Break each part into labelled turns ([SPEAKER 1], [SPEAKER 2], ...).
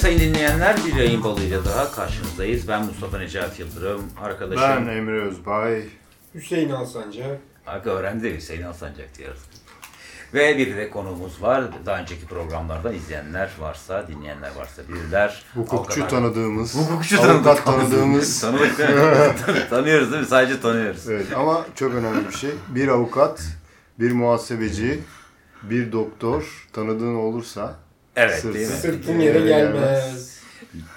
[SPEAKER 1] Sayın dinleyenler bir yayın balığıyla daha karşınızdayız. Ben Mustafa Necat Yıldırım.
[SPEAKER 2] Ben
[SPEAKER 1] Arkadaşım
[SPEAKER 2] Emre Özbay.
[SPEAKER 3] Hüseyin Alsancak.
[SPEAKER 1] Arka öğrendi Hüseyin Alsancak diyoruz. Ve bir de konuğumuz var. Daha önceki programlardan izleyenler varsa, dinleyenler varsa bilirler.
[SPEAKER 2] Hukukçu
[SPEAKER 1] Avukat-
[SPEAKER 2] tanıdığımız,
[SPEAKER 1] Hukukçu tanıdık.
[SPEAKER 2] avukat tanıdığımız.
[SPEAKER 1] Tanıdık değil mi? Tan- tanıyoruz değil mi? Sadece tanıyoruz.
[SPEAKER 2] evet ama çok önemli bir şey. Bir avukat, bir muhasebeci, bir doktor tanıdığın olursa
[SPEAKER 1] Evet
[SPEAKER 2] Sırf-
[SPEAKER 1] değil mi?
[SPEAKER 3] Sırtın yere gelmez.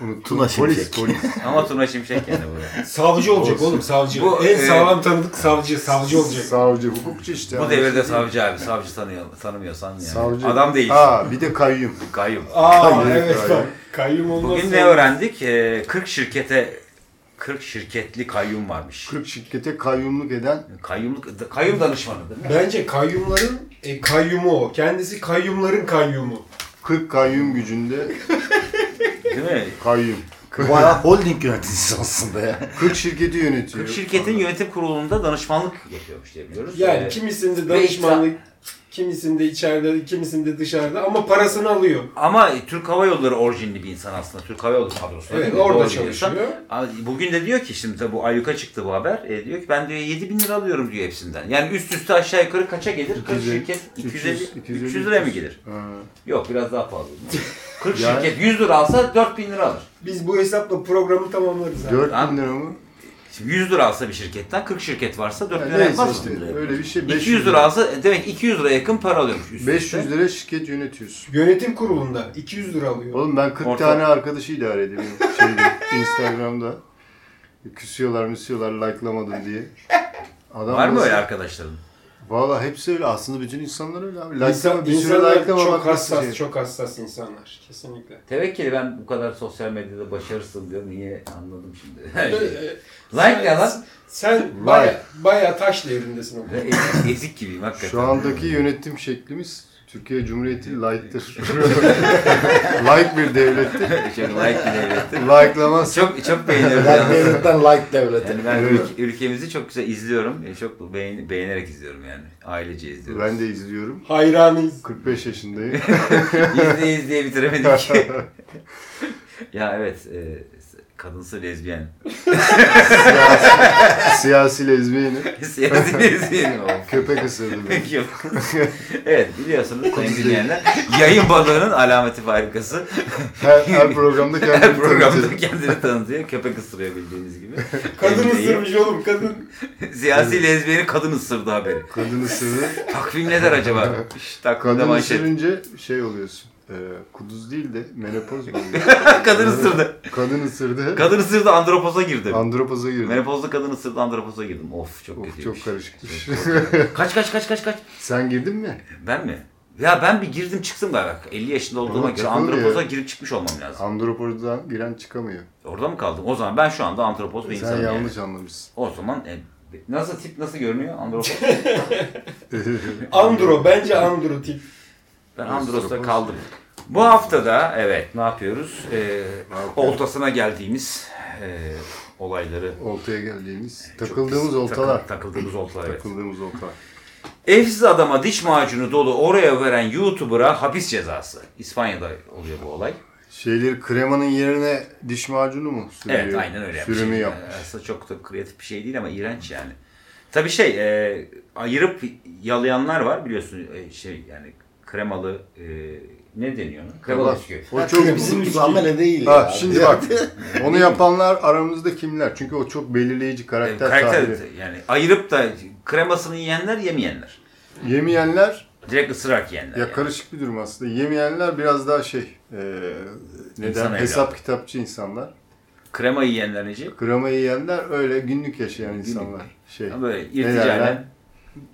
[SPEAKER 2] unuttum.
[SPEAKER 4] Tuna
[SPEAKER 2] polis,
[SPEAKER 4] Şimşek.
[SPEAKER 2] polis.
[SPEAKER 1] Ama Tuna Şimşek yani bu.
[SPEAKER 3] Savcı olacak oğlum savcı.
[SPEAKER 1] Bu,
[SPEAKER 3] en
[SPEAKER 1] e,
[SPEAKER 3] sağlam tanıdık savcı. Savcı olacak.
[SPEAKER 2] Savcı, hukukçu işte.
[SPEAKER 1] Bu
[SPEAKER 2] ama
[SPEAKER 1] devirde savcı abi. Savcı tanıyor, tanımıyorsan yani.
[SPEAKER 2] Savcı.
[SPEAKER 1] Adam değil.
[SPEAKER 2] Ha bir de kayyum.
[SPEAKER 1] Kayyum.
[SPEAKER 3] Aa
[SPEAKER 2] Kayyum,
[SPEAKER 3] evet
[SPEAKER 2] kayyum.
[SPEAKER 3] bak. Kayyum olmaz.
[SPEAKER 1] Bugün ne öğrendik? Ee, 40 şirkete 40 şirketli kayyum varmış.
[SPEAKER 2] 40 şirkete kayyumluk eden
[SPEAKER 1] Kayyumluk kayyum danışmanıdır.
[SPEAKER 3] Bence kayyumların e, kayyumu o. Kendisi kayyumların kayyumu.
[SPEAKER 2] 40 kayyum gücünde
[SPEAKER 1] Değil mi?
[SPEAKER 2] kayyum.
[SPEAKER 4] Bayağı holding yöneticisi aslında ya.
[SPEAKER 2] 40 şirketi
[SPEAKER 1] 40
[SPEAKER 2] yönetiyor.
[SPEAKER 1] şirketin yönetim kurulunda danışmanlık yapıyormuş diye biliyoruz.
[SPEAKER 3] Yani
[SPEAKER 1] Ee,
[SPEAKER 3] kimisinde danışmanlık, kimisinde içeride, kimisinde dışarıda ama parasını alıyor.
[SPEAKER 1] ama Türk Hava Yolları orijinli bir insan aslında. Türk Hava Yolları kadrosu.
[SPEAKER 3] Evet orada
[SPEAKER 1] çalışıyor.
[SPEAKER 3] çalışıyor.
[SPEAKER 1] Bugün de diyor ki şimdi tabii bu ayyuka çıktı bu haber. E, diyor ki ben diyor 7 bin lira alıyorum diyor hepsinden. Yani üst üste aşağı yukarı kaça gelir? 40
[SPEAKER 2] 250,
[SPEAKER 1] şirket 250,
[SPEAKER 2] 300,
[SPEAKER 1] 300 lira mı gelir?
[SPEAKER 2] Ha.
[SPEAKER 1] Yok biraz daha pahalı. 40
[SPEAKER 2] Yani-
[SPEAKER 1] şirket 100 lira alsa 4 bin lira alır.
[SPEAKER 3] Biz bu hesapla programı tamamlarız abi.
[SPEAKER 2] 4
[SPEAKER 1] Abi-
[SPEAKER 2] bin lira mı?
[SPEAKER 1] Şimdi 100 lira alsa bir şirketten 40 şirket varsa 4
[SPEAKER 2] Yani
[SPEAKER 1] lira
[SPEAKER 2] neyse
[SPEAKER 1] yapmaz mı?
[SPEAKER 2] işte öyle bir şey.
[SPEAKER 1] 200 lira alsa e, demek 200 lira yakın para alıyormuş. üst üste.
[SPEAKER 2] 500 lira şirket yönetiyorsun.
[SPEAKER 3] Yönetim kurulunda 200 lira alıyor.
[SPEAKER 2] Oğlum ben 40
[SPEAKER 1] Orta-
[SPEAKER 2] tane arkadaşı idare ediyorum şeyde, Instagram'da. Küsüyorlar müsüyorlar likelamadın diye. Adam
[SPEAKER 1] Var mı
[SPEAKER 2] nasıl-
[SPEAKER 1] öyle arkadaşların?
[SPEAKER 2] Valla hepsi öyle. Aslında bütün insanlar öyle abi.
[SPEAKER 3] İnsan,
[SPEAKER 2] Likelama, bir süre
[SPEAKER 3] insanlar çok
[SPEAKER 2] likelamamak nasıl
[SPEAKER 3] hassas,
[SPEAKER 2] şey?
[SPEAKER 3] çok hassas insanlar. Kesinlikle.
[SPEAKER 1] Tevekkeli ben bu kadar sosyal medyada başarısız diyor. Niye anladım şimdi. Her şeyi.
[SPEAKER 3] Ee,
[SPEAKER 1] like ne lan?
[SPEAKER 3] Sen baya baya taş devrindesin o
[SPEAKER 1] Ben
[SPEAKER 3] konuda.
[SPEAKER 1] Ezik, ezik gibiyim hakikaten.
[SPEAKER 2] Şu andaki yönetim şeklimiz Türkiye Cumhuriyeti like'tır. like bir devlettir.
[SPEAKER 1] Şey, like bir devlettir.
[SPEAKER 2] Likelamaz.
[SPEAKER 1] Çok, çok beğeniyorum.
[SPEAKER 4] Like
[SPEAKER 1] yalnız.
[SPEAKER 4] devletten like devlete.
[SPEAKER 1] Yani ben
[SPEAKER 2] Evet.
[SPEAKER 1] ülke- ülkemizi çok güzel izliyorum. E, Çok beğen, beğenerek izliyorum yani. Ailece izliyoruz.
[SPEAKER 2] Ben de izliyorum.
[SPEAKER 3] Hayranıyız.
[SPEAKER 2] 45 yaşındayım.
[SPEAKER 1] İzleye izleye bitiremedik. ya evet. E, kadınsı lezbiyen.
[SPEAKER 2] Siyasi lezbiyeni.
[SPEAKER 1] Siyasi lezbiyen o.
[SPEAKER 2] Köpek ısırdı beni.
[SPEAKER 1] Peki. evet biliyorsunuz sayın dinleyenler yayın balığının alameti farikası.
[SPEAKER 2] Her, her programda
[SPEAKER 1] Her
[SPEAKER 2] kendimi
[SPEAKER 1] programda
[SPEAKER 2] tanıtıyorum.
[SPEAKER 1] kendini tanıtıyor. Köpek ısırıyor bildiğiniz gibi.
[SPEAKER 3] Kadın
[SPEAKER 1] Emre'yi.
[SPEAKER 3] ısırmış oğlum kadın.
[SPEAKER 1] Siyasi lezbiyeni kadın ısırdı haberi.
[SPEAKER 2] Kadın ısırdı.
[SPEAKER 1] Takvim ne der acaba? Şşş, takvimde
[SPEAKER 2] Kadın
[SPEAKER 1] manşet.
[SPEAKER 2] ısırınca şey oluyorsun. Ee, kuduz değil de menopoz mu oluyor?
[SPEAKER 1] kadın ısırdı.
[SPEAKER 2] Kadın ısırdı.
[SPEAKER 1] Kadın ısırdı andropoza girdim.
[SPEAKER 2] Andropoza girdi.
[SPEAKER 1] Menopozlu kadın ısırdı andropoza girdim. Of çok
[SPEAKER 2] Of,
[SPEAKER 1] kötüymüş.
[SPEAKER 2] çok karışıkmış.
[SPEAKER 1] Kaç kaç kaç kaç kaç.
[SPEAKER 2] Sen girdin mi?
[SPEAKER 1] Ben mi? Ya ben bir girdim çıktım galiba. 50 yaşında olduğuma
[SPEAKER 2] Ama
[SPEAKER 1] göre
[SPEAKER 2] çıkılır ya.
[SPEAKER 1] andropoza girip çıkmış olmam lazım.
[SPEAKER 2] Andropozdan giren çıkamıyor.
[SPEAKER 1] Orada mı kaldım? O zaman ben şu anda andropoz bir
[SPEAKER 2] Sen
[SPEAKER 1] insanım. yani.
[SPEAKER 2] yanlış anlamışsın.
[SPEAKER 1] O zaman e, nasıl tip nasıl görünüyor? Andropos.
[SPEAKER 3] Andro bence Andro tip.
[SPEAKER 1] Ben
[SPEAKER 2] Andropos'ta
[SPEAKER 1] Andros'ta kaldım. Bu haftada evet ne yapıyoruz? Ee, oltasına geldiğimiz e, olayları
[SPEAKER 2] Oltaya geldiğimiz,
[SPEAKER 1] çok
[SPEAKER 2] takıldığımız
[SPEAKER 1] pis-
[SPEAKER 2] oltalar.
[SPEAKER 1] takı- takıldığımız oltalar. Evet.
[SPEAKER 2] Takıldığımız oltalar.
[SPEAKER 1] Evsiz adama diş macunu dolu oraya veren YouTuber'a hapis cezası. İspanya'da oluyor bu olay.
[SPEAKER 2] Şeyleri kremanın yerine diş macunu mu sürüyor?
[SPEAKER 1] Evet aynen öyle yapmış.
[SPEAKER 2] Sürümü
[SPEAKER 1] Yani
[SPEAKER 2] yap.
[SPEAKER 1] Aslında çok da kreatif bir şey değil ama iğrenç yani. Tabii şey e, ayırıp yalayanlar var biliyorsun e, şey yani kremalı e, ne deniyor? ona? Kremalı
[SPEAKER 2] Ulan,
[SPEAKER 1] bisküvi.
[SPEAKER 2] O çok
[SPEAKER 4] bizim gibi amele değil
[SPEAKER 2] Ha
[SPEAKER 4] ya.
[SPEAKER 2] şimdi bak. Onu yapanlar aramızda kimler? Çünkü o çok belirleyici
[SPEAKER 1] E,
[SPEAKER 2] karakter,
[SPEAKER 1] karakter
[SPEAKER 2] sahibi.
[SPEAKER 1] yani ayırıp da kremasını yiyenler yemeyenler.
[SPEAKER 2] Yemeyenler
[SPEAKER 1] Direkt ısırarak yiyenler.
[SPEAKER 2] ya
[SPEAKER 1] yani.
[SPEAKER 2] karışık bir durum aslında. Yemeyenler biraz daha şey, e,
[SPEAKER 1] İnsan
[SPEAKER 2] neden hesap
[SPEAKER 1] evladı.
[SPEAKER 2] kitapçı insanlar.
[SPEAKER 1] Krema yiyenler nece?
[SPEAKER 2] Krema yiyenler öyle günlük yaşayan insanlar. Şey.
[SPEAKER 1] Ama Böyle
[SPEAKER 2] Nedenler?
[SPEAKER 1] irticalen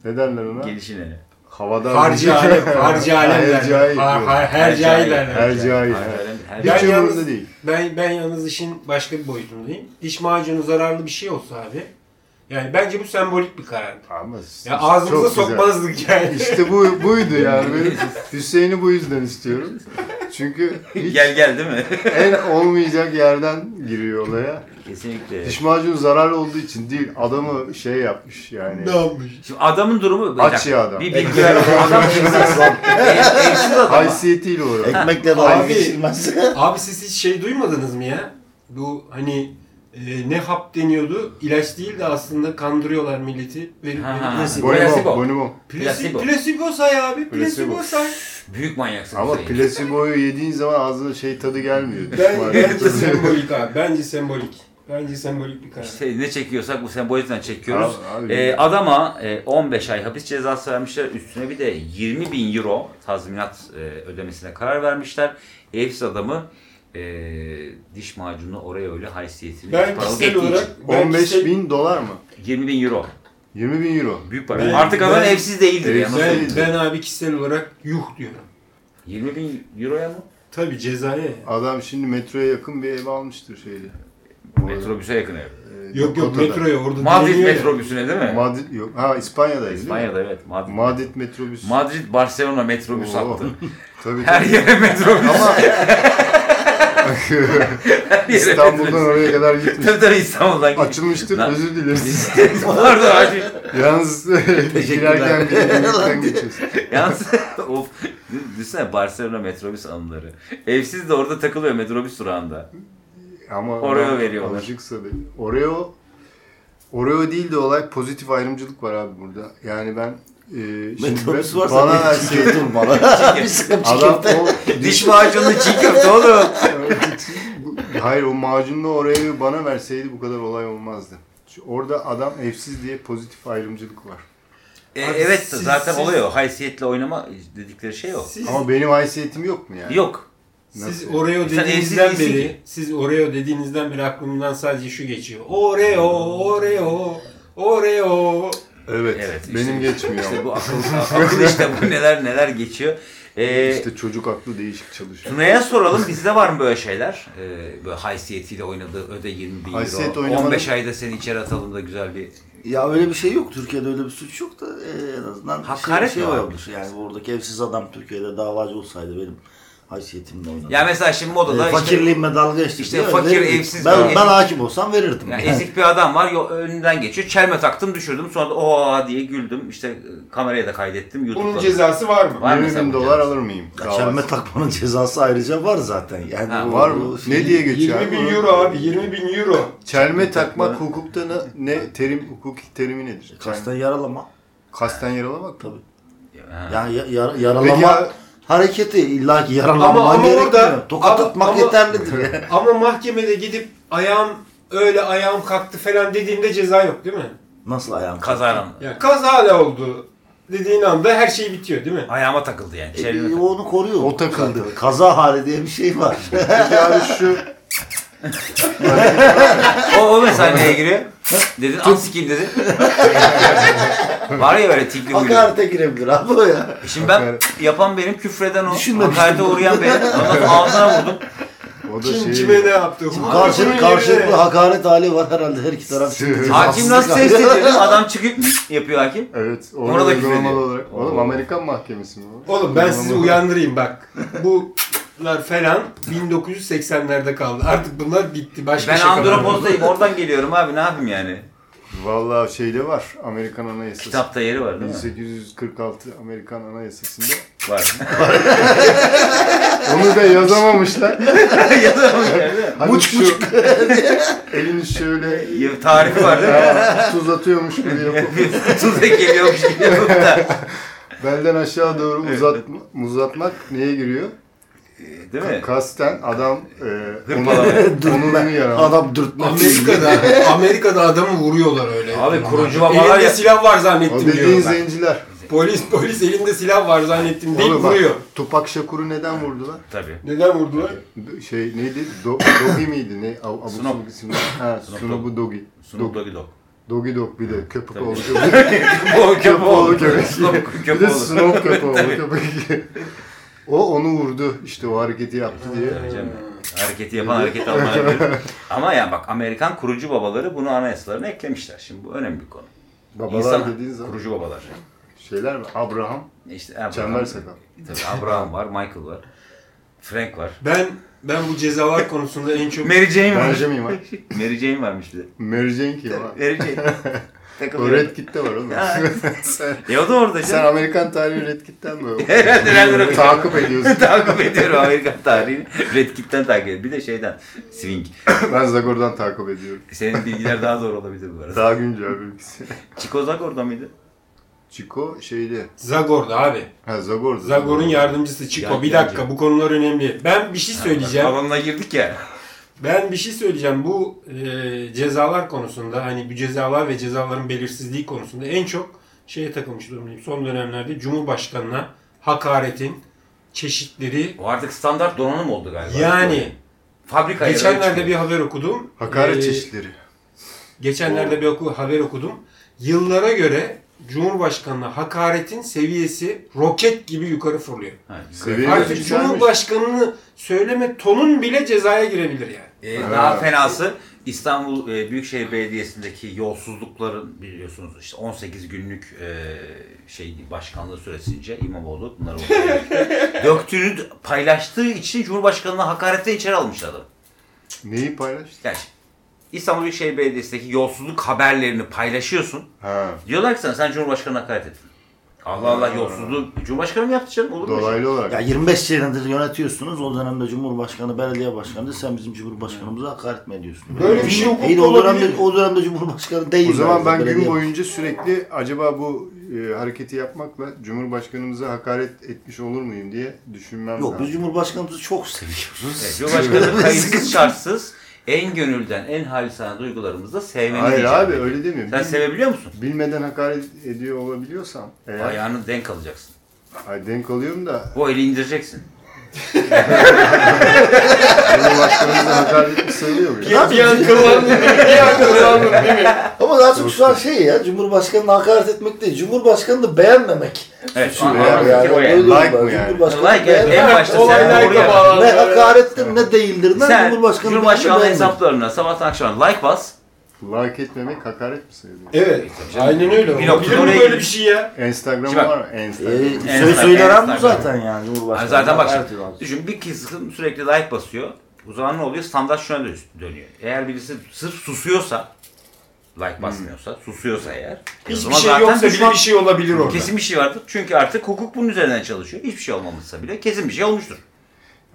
[SPEAKER 2] Ne derler ona?
[SPEAKER 1] gelişine.
[SPEAKER 2] Havada
[SPEAKER 3] Harcı alem, harcı alem derler.
[SPEAKER 2] Hercai.
[SPEAKER 3] Har- har-
[SPEAKER 1] Hercai.
[SPEAKER 3] Hercai derler.
[SPEAKER 2] Hercai.
[SPEAKER 1] Harcaren- her-
[SPEAKER 3] Ya-
[SPEAKER 2] Hiç
[SPEAKER 3] Ben yalnız-
[SPEAKER 2] umurunda değil.
[SPEAKER 3] Ben, ben yalnız işin başka bir boyutundayım. Diş macunu zararlı bir şey olsa abi. Yani bence bu sembolik bir karardı.
[SPEAKER 2] Ama
[SPEAKER 3] Ya ağzımıza sokmazdık yani.
[SPEAKER 2] İşte bu buydu yani. Benim Hüseyin'i bu yüzden istiyorum. Çünkü hiç
[SPEAKER 1] Gel gel değil mi?
[SPEAKER 2] en olmayacak yerden giriyor olaya.
[SPEAKER 1] Kesinlikle.
[SPEAKER 2] Diş macunu zararlı olduğu için değil adamı şey yapmış yani.
[SPEAKER 3] Ne yapmış?
[SPEAKER 1] Şimdi adamın durumu bir
[SPEAKER 2] Aç
[SPEAKER 1] dakika,
[SPEAKER 2] ya adam.
[SPEAKER 1] Bir bilgi ver. adam egzersiz. Eşsiz adam.
[SPEAKER 2] Haysiyetiyle uğraşıyor.
[SPEAKER 4] Ekmekle
[SPEAKER 3] Abi.
[SPEAKER 4] dalga geçilmez.
[SPEAKER 3] Abi siz hiç şey duymadınız mı ya? Bu hani e, ne hap deniyordu? İlaç değil de aslında kandırıyorlar milleti. Verip
[SPEAKER 1] Ha,
[SPEAKER 3] verip-
[SPEAKER 1] ha.
[SPEAKER 3] Plasi-
[SPEAKER 1] Placebo.
[SPEAKER 2] Bonimo, bonimo.
[SPEAKER 1] Placebo.
[SPEAKER 3] Plasi, plasibo say abi.
[SPEAKER 2] Placebo.
[SPEAKER 3] Plasibo say.
[SPEAKER 1] Büyük manyaksın.
[SPEAKER 2] Ama
[SPEAKER 1] Hüseyin.
[SPEAKER 2] plaseboyu yediğin zaman ağzına şey tadı gelmiyor. Diş
[SPEAKER 3] Ben,
[SPEAKER 2] macunu
[SPEAKER 3] bence
[SPEAKER 2] tadı.
[SPEAKER 3] sembolik abi. Bence sembolik. Bence sembolik bir karar.
[SPEAKER 1] İşte ne çekiyorsak bu sembolizmden çekiyoruz.
[SPEAKER 2] Abi, abi.
[SPEAKER 1] Ee, adama e, 15 ay hapis cezası vermişler. Üstüne bir de 20 bin euro tazminat e, ödemesine karar vermişler. Evsiz adamı e, diş macunu oraya öyle haysiyetini
[SPEAKER 3] Ben
[SPEAKER 1] paralık
[SPEAKER 3] kişisel
[SPEAKER 1] ettiği için.
[SPEAKER 3] olarak ben
[SPEAKER 2] 15
[SPEAKER 3] kişisel-
[SPEAKER 2] bin dolar mı?
[SPEAKER 1] 20 bin euro.
[SPEAKER 2] 20 bin euro.
[SPEAKER 1] Büyük para.
[SPEAKER 3] Ben-
[SPEAKER 1] Artık adam
[SPEAKER 3] ben-
[SPEAKER 1] evsiz değildir. ya, nasıl
[SPEAKER 3] ben,
[SPEAKER 1] olur?
[SPEAKER 3] ben abi kişisel olarak yuh diyorum.
[SPEAKER 1] 20 bin euroya mı?
[SPEAKER 3] Tabi cezaya. ya.
[SPEAKER 2] Adam şimdi metroya yakın bir ev almıştır şeyde.
[SPEAKER 1] Metrobüse yakın ev.
[SPEAKER 2] Ee,
[SPEAKER 3] Yok yok
[SPEAKER 2] Dakota'da.
[SPEAKER 3] metroya orada
[SPEAKER 1] Madrid
[SPEAKER 3] direniyor ya.
[SPEAKER 1] metrobüsüne değil mi?
[SPEAKER 2] Madrid yok. Ha İspanya'daydı değil mi?
[SPEAKER 1] İspanya'da evet. Madrid.
[SPEAKER 2] Madrid metrobüsü.
[SPEAKER 1] Madrid Barcelona metrobüs
[SPEAKER 2] Oo.
[SPEAKER 1] attı.
[SPEAKER 2] Tabii
[SPEAKER 1] Her
[SPEAKER 2] tabii.
[SPEAKER 1] yere metrobüs.
[SPEAKER 2] Ama
[SPEAKER 1] Her yere
[SPEAKER 2] İstanbul'dan
[SPEAKER 1] metrobüs.
[SPEAKER 2] oraya kadar gitmiş.
[SPEAKER 1] Tabii tabii İstanbul'dan gitmiş.
[SPEAKER 2] Açılmıştır
[SPEAKER 1] Lan-
[SPEAKER 2] özür dileriz.
[SPEAKER 1] Pardon abi.
[SPEAKER 2] Yalnız girerken bir yürüyüşten geçiyorsun.
[SPEAKER 1] Yalnız of. Düşünsene Barcelona metrobüs anıları. Evsiz de orada takılıyor metrobüs durağında.
[SPEAKER 2] Ama
[SPEAKER 1] Oreo
[SPEAKER 2] adam
[SPEAKER 1] veriyorlar.
[SPEAKER 2] Alışıksa da. Oreo Oreo değil de olay pozitif ayrımcılık var abi burada. Yani ben e, şimdi
[SPEAKER 4] Metrobüs
[SPEAKER 2] ben-
[SPEAKER 4] varsa şey
[SPEAKER 2] bana
[SPEAKER 4] bana
[SPEAKER 2] versin.
[SPEAKER 4] çiğ durmalı. bir sıkıp
[SPEAKER 2] Adam
[SPEAKER 4] çiğ
[SPEAKER 2] o
[SPEAKER 1] Diş macunlu çiğ köfte oğlum.
[SPEAKER 2] Hayır o macunlu orayı bana verseydi bu kadar olay olmazdı. Şu- Orada adam evsiz diye pozitif ayrımcılık var.
[SPEAKER 1] E,
[SPEAKER 3] Abi
[SPEAKER 1] evet
[SPEAKER 3] siz-
[SPEAKER 1] zaten
[SPEAKER 3] siz-
[SPEAKER 1] oluyor. Haysiyetle oynama dedikleri şey o.
[SPEAKER 3] Siz,
[SPEAKER 2] Ama benim haysiyetim yok mu yani?
[SPEAKER 1] Yok.
[SPEAKER 3] siz
[SPEAKER 2] Nasıl?
[SPEAKER 3] Oreo
[SPEAKER 1] Sen
[SPEAKER 3] dediğinizden
[SPEAKER 1] evsiz değilsin
[SPEAKER 3] beri, siz Oreo dediğinizden beri aklımdan sadece şu geçiyor. Oreo, Oreo, Oreo.
[SPEAKER 2] Evet.
[SPEAKER 1] Evet, işte-
[SPEAKER 2] benim geçmiyor
[SPEAKER 1] İşte
[SPEAKER 2] ama.
[SPEAKER 1] bu akıl, akıl işte bu neler neler geçiyor. Ee,
[SPEAKER 2] İşte çocuk aklı değişik çalışıyor.
[SPEAKER 1] Tuna'ya soralım bizde var mı böyle şeyler? Ee, böyle haysiyetiyle oynadığı öde 20 bin
[SPEAKER 2] Haysiyet
[SPEAKER 1] euro.
[SPEAKER 2] oynamanın-
[SPEAKER 1] 15 ayda seni içeri atalım da güzel bir...
[SPEAKER 4] Ya öyle bir şey yok. Türkiye'de öyle bir suç yok da e, en azından
[SPEAKER 1] Hakaret
[SPEAKER 4] bir şey,
[SPEAKER 1] mi
[SPEAKER 4] bir
[SPEAKER 1] var?
[SPEAKER 4] şey olmuş. Yani oradaki evsiz adam Türkiye'de davacı olsaydı benim haysiyetimle oynadı.
[SPEAKER 1] Ya mesela şimdi modada
[SPEAKER 2] Ee,
[SPEAKER 4] e,
[SPEAKER 1] işte-
[SPEAKER 4] fakirliğime dalga geçti.
[SPEAKER 1] İşte
[SPEAKER 4] diye
[SPEAKER 1] fakir,
[SPEAKER 4] verirdim.
[SPEAKER 1] evsiz-
[SPEAKER 4] Ben,
[SPEAKER 1] evsiz-
[SPEAKER 4] ben hakim olsam verirdim.
[SPEAKER 1] Yani ezik bir adam var yol önünden geçiyor. Çelme taktım düşürdüm. Sonra da oha diye güldüm. İşte e, kameraya da kaydettim.
[SPEAKER 3] Bunun
[SPEAKER 1] YouTube'da. da-
[SPEAKER 3] cezası var mı?
[SPEAKER 1] Var
[SPEAKER 2] 20
[SPEAKER 1] mesela
[SPEAKER 2] bin
[SPEAKER 1] bu
[SPEAKER 2] dolar
[SPEAKER 1] cihaz.
[SPEAKER 2] alır mıyım?
[SPEAKER 4] Ya Çelme takmanın cezası ayrıca var zaten. Yani
[SPEAKER 1] Ha,
[SPEAKER 4] o-
[SPEAKER 2] Var
[SPEAKER 4] o
[SPEAKER 2] mı?
[SPEAKER 4] şey-
[SPEAKER 2] Ne diye geçiyor?
[SPEAKER 3] 20 bin
[SPEAKER 2] abi?
[SPEAKER 3] euro abi, 20 bin euro.
[SPEAKER 2] Çelme takmak hukukta ne, ne terim hukuki terimi nedir?
[SPEAKER 4] Kasten
[SPEAKER 2] Yani
[SPEAKER 4] yaralama.
[SPEAKER 2] kasten yaralamak
[SPEAKER 4] Tabii.
[SPEAKER 2] tabii.
[SPEAKER 1] Ha.
[SPEAKER 4] Yani ya- ya-
[SPEAKER 2] Peki
[SPEAKER 4] yaralama
[SPEAKER 2] ya,
[SPEAKER 4] hareketi illa ki yaralanman
[SPEAKER 3] Ama- ama
[SPEAKER 4] gerekmiyor.
[SPEAKER 3] orada-
[SPEAKER 4] Tokat
[SPEAKER 3] ama-
[SPEAKER 4] atmak
[SPEAKER 3] ama-
[SPEAKER 4] yeterlidir. ya.
[SPEAKER 3] Ama mahkemede gidip ayağım öyle ayağım kalktı falan dediğinde ceza yok değil mi?
[SPEAKER 4] Nasıl ayağın?
[SPEAKER 1] Kazaran.
[SPEAKER 3] Yani kazayla oldu dediğin anda her şey bitiyor değil mi?
[SPEAKER 1] Ayağıma takıldı yani.
[SPEAKER 4] E,
[SPEAKER 1] Çelme
[SPEAKER 4] e,
[SPEAKER 1] takıldı.
[SPEAKER 4] onu koruyor.
[SPEAKER 2] Ee, O takıldı.
[SPEAKER 4] Kaza hali diye bir şey var.
[SPEAKER 2] peki abi şu
[SPEAKER 1] O, o mesela neye giriyor? Dedin al sikeyim dedin. var ya böyle tikli huylu.
[SPEAKER 4] Hakarete girebilir abi o ya.
[SPEAKER 1] Şimdi ben
[SPEAKER 2] Hakaret.
[SPEAKER 1] yapan benim küfreden o.
[SPEAKER 4] Düşünmemiştim.
[SPEAKER 1] Hakarete uğrayan benim. Ondan ağzına vurdum.
[SPEAKER 2] o da
[SPEAKER 3] Kim
[SPEAKER 2] şey
[SPEAKER 3] kime ne yaptı? Hukukun
[SPEAKER 4] Karşı,
[SPEAKER 3] yerine-
[SPEAKER 4] karşılıklı hakaret hali var herhalde her iki taraf.
[SPEAKER 2] Hakim
[SPEAKER 1] Hakim nasıl test ediyor? dedim. Adam çıkıp yapıyor hakim.
[SPEAKER 2] Evet.
[SPEAKER 1] Ona
[SPEAKER 2] Orada
[SPEAKER 1] da
[SPEAKER 2] uygulamalı
[SPEAKER 1] küfrediyor.
[SPEAKER 2] olarak. Oğlum
[SPEAKER 1] Oo.
[SPEAKER 2] Amerikan mahkemesi mi o?
[SPEAKER 3] Oğlum ben sizi
[SPEAKER 2] Uygulamalı.
[SPEAKER 3] uyandırayım bak. Bular falan 1980'lerde kaldı. Artık bunlar bitti. Başka
[SPEAKER 1] Ben
[SPEAKER 3] şey kalmadı.
[SPEAKER 1] Andropoz'dayım. Oradan geliyorum abi. Ne yapayım yani?
[SPEAKER 2] Vallahi şeyde var. Amerikan Anayasası.
[SPEAKER 1] Kitapta yeri var değil mi?
[SPEAKER 2] 1846 Amerikan Anayasası'nda.
[SPEAKER 1] Var.
[SPEAKER 2] Onu da yazamamışlar.
[SPEAKER 1] Yazılmış yani değil mi?
[SPEAKER 2] Hani
[SPEAKER 4] Muç,
[SPEAKER 2] şu- elini şöyle
[SPEAKER 1] Ya, Tarifi var değil mi?
[SPEAKER 2] ya, tuz atıyormuş gibi yapıp
[SPEAKER 1] Tuza geliyormuş gibi yapıp da.
[SPEAKER 2] belden aşağı doğru uzatma, uzatmak neye giriyor?
[SPEAKER 1] Değil mi?
[SPEAKER 2] Kasten adam e,
[SPEAKER 1] Hırpalama.
[SPEAKER 2] onurunu yaralamak.
[SPEAKER 4] Adam dürtmek
[SPEAKER 3] Amerika'da, Amerika'da adamı vuruyorlar öyle.
[SPEAKER 1] Abi kurucu babalar
[SPEAKER 3] Elinde
[SPEAKER 1] ya.
[SPEAKER 3] silah var
[SPEAKER 2] O
[SPEAKER 3] zannettim
[SPEAKER 2] dediğin
[SPEAKER 3] diyor. Ben.
[SPEAKER 2] zenciler.
[SPEAKER 3] Polis polis elinde silah var zannettim deyip
[SPEAKER 2] Oğlum bak,
[SPEAKER 3] vuruyor.
[SPEAKER 2] Tupak Şakur'u neden vurdular?
[SPEAKER 1] Tabii.
[SPEAKER 3] Neden vurdular?
[SPEAKER 2] Şey neydi? Do, dogi miydi? Ne? Ab, abuk
[SPEAKER 1] Snoop.
[SPEAKER 2] subuk isimler. Ha,
[SPEAKER 1] Snoop
[SPEAKER 2] Snoop'u Dogi.
[SPEAKER 1] Snoop Doggy Dogg.
[SPEAKER 2] Dogi Dog bir de köpek
[SPEAKER 1] Tabii.
[SPEAKER 2] oğlu.
[SPEAKER 1] O
[SPEAKER 2] Köpek oğlu
[SPEAKER 1] köpek.
[SPEAKER 2] köpek.
[SPEAKER 1] Snoop
[SPEAKER 2] Bir de
[SPEAKER 1] köpek oldu.
[SPEAKER 2] Snoop köpek oğlu köpek. O onu vurdu işte o hareketi yaptı diye.
[SPEAKER 1] Tabii canım. Hareketi yapan hareketi almaya göre. Ama yani bak Amerikan kurucu babaları bunu anayasalarına eklemişler. Şimdi bu önemli bir konu.
[SPEAKER 2] Babalar dediğin zaman
[SPEAKER 1] kurucu babalar.
[SPEAKER 2] şeyler mi? Abraham,
[SPEAKER 1] İşte Abraham,
[SPEAKER 2] Çember Sakal.
[SPEAKER 1] Tabii Abraham var, Michael var. Frank var.
[SPEAKER 3] Ben ben bu cezalar konusunda en çok
[SPEAKER 1] Mary Jane var.
[SPEAKER 2] Benjamin var.
[SPEAKER 1] Mary Jane varmış bir de.
[SPEAKER 2] Mary Jane kim var?
[SPEAKER 1] Mary Jane. Takılıyor.
[SPEAKER 2] Red Kit'te var oğlum.
[SPEAKER 1] Ya.
[SPEAKER 2] sen,
[SPEAKER 1] E o da orada
[SPEAKER 2] sen
[SPEAKER 1] canım.
[SPEAKER 2] Amerikan tarihi Red Kit'ten mi?
[SPEAKER 1] Herhalde ben bırakıyorum.
[SPEAKER 2] Takip ediyorsun.
[SPEAKER 1] takip ediyorum Amerikan tarihini. Red Kit'ten takip ediyorum. Bir de şeyden. Swing.
[SPEAKER 2] ben Zagor'dan takip ediyorum.
[SPEAKER 1] Senin bilgiler daha zor olabilir bu arada.
[SPEAKER 2] Daha güncel bilgisi.
[SPEAKER 1] Çikozak orada mıydı?
[SPEAKER 2] Çiko şeydi.
[SPEAKER 3] Zagor'da abi.
[SPEAKER 2] Ha Zagor'du.
[SPEAKER 3] Zagor'un yardımcısı Çiko. Bir dakika bu konular önemli. Ben bir şey söyleyeceğim.
[SPEAKER 1] Alanına girdik ya.
[SPEAKER 3] Ben bir şey söyleyeceğim. Bu e, cezalar konusunda hani bu cezalar ve cezaların belirsizliği konusunda en çok şeye takılmış durumdayım. Son dönemlerde Cumhurbaşkanı'na hakaretin çeşitleri
[SPEAKER 1] O artık standart donanım oldu galiba.
[SPEAKER 3] yani
[SPEAKER 1] Fabrika
[SPEAKER 3] geçenlerde bir haber okudum.
[SPEAKER 2] Hakaret
[SPEAKER 3] Ee,
[SPEAKER 2] çeşitleri.
[SPEAKER 3] Geçenlerde bir oku- haber okudum. Yıllara göre Cumhurbaşkanı'na hakaretin seviyesi roket gibi yukarı fırlıyor.
[SPEAKER 2] Seviye
[SPEAKER 3] Artık
[SPEAKER 2] yükselmiş.
[SPEAKER 3] Cumhurbaşkanı'nı söyleme tonun bile cezaya girebilir yani.
[SPEAKER 1] Ee,
[SPEAKER 2] Evet.
[SPEAKER 1] daha fenası İstanbul e, Büyükşehir Belediyesi'ndeki yolsuzlukların biliyorsunuz işte 18 günlük e, şey başkanlığı süresince İmamoğlu bunları ortaya döktüğünü d- paylaştığı için Cumhurbaşkanı'na hakarete içeri almış adam.
[SPEAKER 2] Neyi paylaştı?
[SPEAKER 1] Yani İstanbul Büyükşehir Belediyesi'ndeki yolsuzluk haberlerini paylaşıyorsun.
[SPEAKER 2] Ha.
[SPEAKER 1] Diyorlar ki sana sen Cumhurbaşkanı'na hakaret ettin. Allah Allah yolsuzluğu Cumhurbaşkanı mı yaptı canım? Olur mu? öyle şey?
[SPEAKER 2] Dolaylı
[SPEAKER 4] Ya
[SPEAKER 2] olarak.
[SPEAKER 4] 25 senedir yönetiyorsunuz. O dönemde Cumhurbaşkanı, belediye başkanı. Sen bizim Cumhurbaşkanımıza hakaret mi ediyorsun?
[SPEAKER 3] Böyle bir şey hukukta
[SPEAKER 4] İyi de o
[SPEAKER 3] olabilir
[SPEAKER 4] dönemde,
[SPEAKER 3] mi?
[SPEAKER 4] o dönemde Cumhurbaşkanı değil.
[SPEAKER 2] O zaman
[SPEAKER 4] zaten,
[SPEAKER 2] ben gün
[SPEAKER 4] belediye-
[SPEAKER 2] boyunca sürekli acaba bu e, hareketi yapmakla Cumhurbaşkanımıza hakaret etmiş olur muyum diye düşünmem
[SPEAKER 4] Yok
[SPEAKER 2] lazım.
[SPEAKER 4] biz Cumhurbaşkanımızı çok seviyoruz.
[SPEAKER 1] Evet, Cumhurbaşkanı kayıtsız şartsız en gönülden, en halisane duygularımızla sevmemiz
[SPEAKER 2] Hayır
[SPEAKER 1] icap
[SPEAKER 2] abi
[SPEAKER 1] ediyor.
[SPEAKER 2] öyle demiyorum.
[SPEAKER 1] Sen
[SPEAKER 2] Bil-
[SPEAKER 1] sevebiliyor musun?
[SPEAKER 2] Bilmeden hakaret ediyor olabiliyorsam eğer
[SPEAKER 1] Ayağını denk alacaksın.
[SPEAKER 2] ay, denk alıyorum da
[SPEAKER 1] Bu eli indireceksin.
[SPEAKER 2] Cumhurbaşkanımıza hakaret etmiş sayılıyor mu? ya? şey-
[SPEAKER 3] Bir an kıllandın değil mi? Bir an kıllandın değil mi?
[SPEAKER 4] Ama daha çok şu an şey ya Cumhurbaşkanı'na hakaret etmek değil. Cumhurbaşkanı'nı beğenmemek.
[SPEAKER 1] Evet,
[SPEAKER 4] suçu
[SPEAKER 1] ama-
[SPEAKER 4] ya.
[SPEAKER 1] ama
[SPEAKER 4] Yani
[SPEAKER 1] fikir o
[SPEAKER 4] öyle
[SPEAKER 1] yani.
[SPEAKER 4] diyorum
[SPEAKER 2] Like
[SPEAKER 4] ben.
[SPEAKER 2] mı yani?
[SPEAKER 4] Cumhurbaşkanı
[SPEAKER 1] Like, evet, en
[SPEAKER 4] beğenmemek.
[SPEAKER 1] başta
[SPEAKER 3] Olay
[SPEAKER 1] sen
[SPEAKER 3] like'a
[SPEAKER 1] oraya-
[SPEAKER 3] bağlandı.
[SPEAKER 4] Ne hakarettir ne değildir. Ne
[SPEAKER 1] Sen
[SPEAKER 4] Cumhurbaşkanı
[SPEAKER 1] Cumhurbaşkanlığı
[SPEAKER 4] beğenmemek.
[SPEAKER 1] hesaplarına sabahtan akşama like bas.
[SPEAKER 2] Like etmemek hakaret mi sayılıyor?
[SPEAKER 3] Evet. Aynen öyle.
[SPEAKER 1] E, Bir
[SPEAKER 3] Olabilir
[SPEAKER 1] noktada
[SPEAKER 3] mi
[SPEAKER 1] oraya
[SPEAKER 3] böyle
[SPEAKER 1] gir-
[SPEAKER 3] bir şey ya?
[SPEAKER 2] Instagram
[SPEAKER 1] Şimdi bak-
[SPEAKER 2] var mı?
[SPEAKER 4] Ee,
[SPEAKER 2] Instagram.
[SPEAKER 1] En
[SPEAKER 4] söz
[SPEAKER 1] son- en
[SPEAKER 4] söylenen
[SPEAKER 1] son-
[SPEAKER 4] bu zaten yani
[SPEAKER 1] Yani
[SPEAKER 4] Cumhurbaşkanı.
[SPEAKER 1] zaten bak
[SPEAKER 4] hakaret
[SPEAKER 1] şimdi,
[SPEAKER 4] ediyor abi.
[SPEAKER 1] düşün bir kızın sürekli like basıyor. O zaman ne oluyor? Standart şuna dö- dönüyor. Eğer birisi sırf susuyorsa, like basmıyorsa, susuyorsa eğer. o
[SPEAKER 3] Hiçbir
[SPEAKER 1] zaman
[SPEAKER 3] şey
[SPEAKER 1] zaten
[SPEAKER 3] yoksa bile
[SPEAKER 1] düşman-
[SPEAKER 3] bir şey olabilir orada.
[SPEAKER 1] Kesin bir şey vardır. Çünkü artık hukuk bunun üzerinden çalışıyor. Hiçbir şey olmamışsa bile kesin bir şey olmuştur.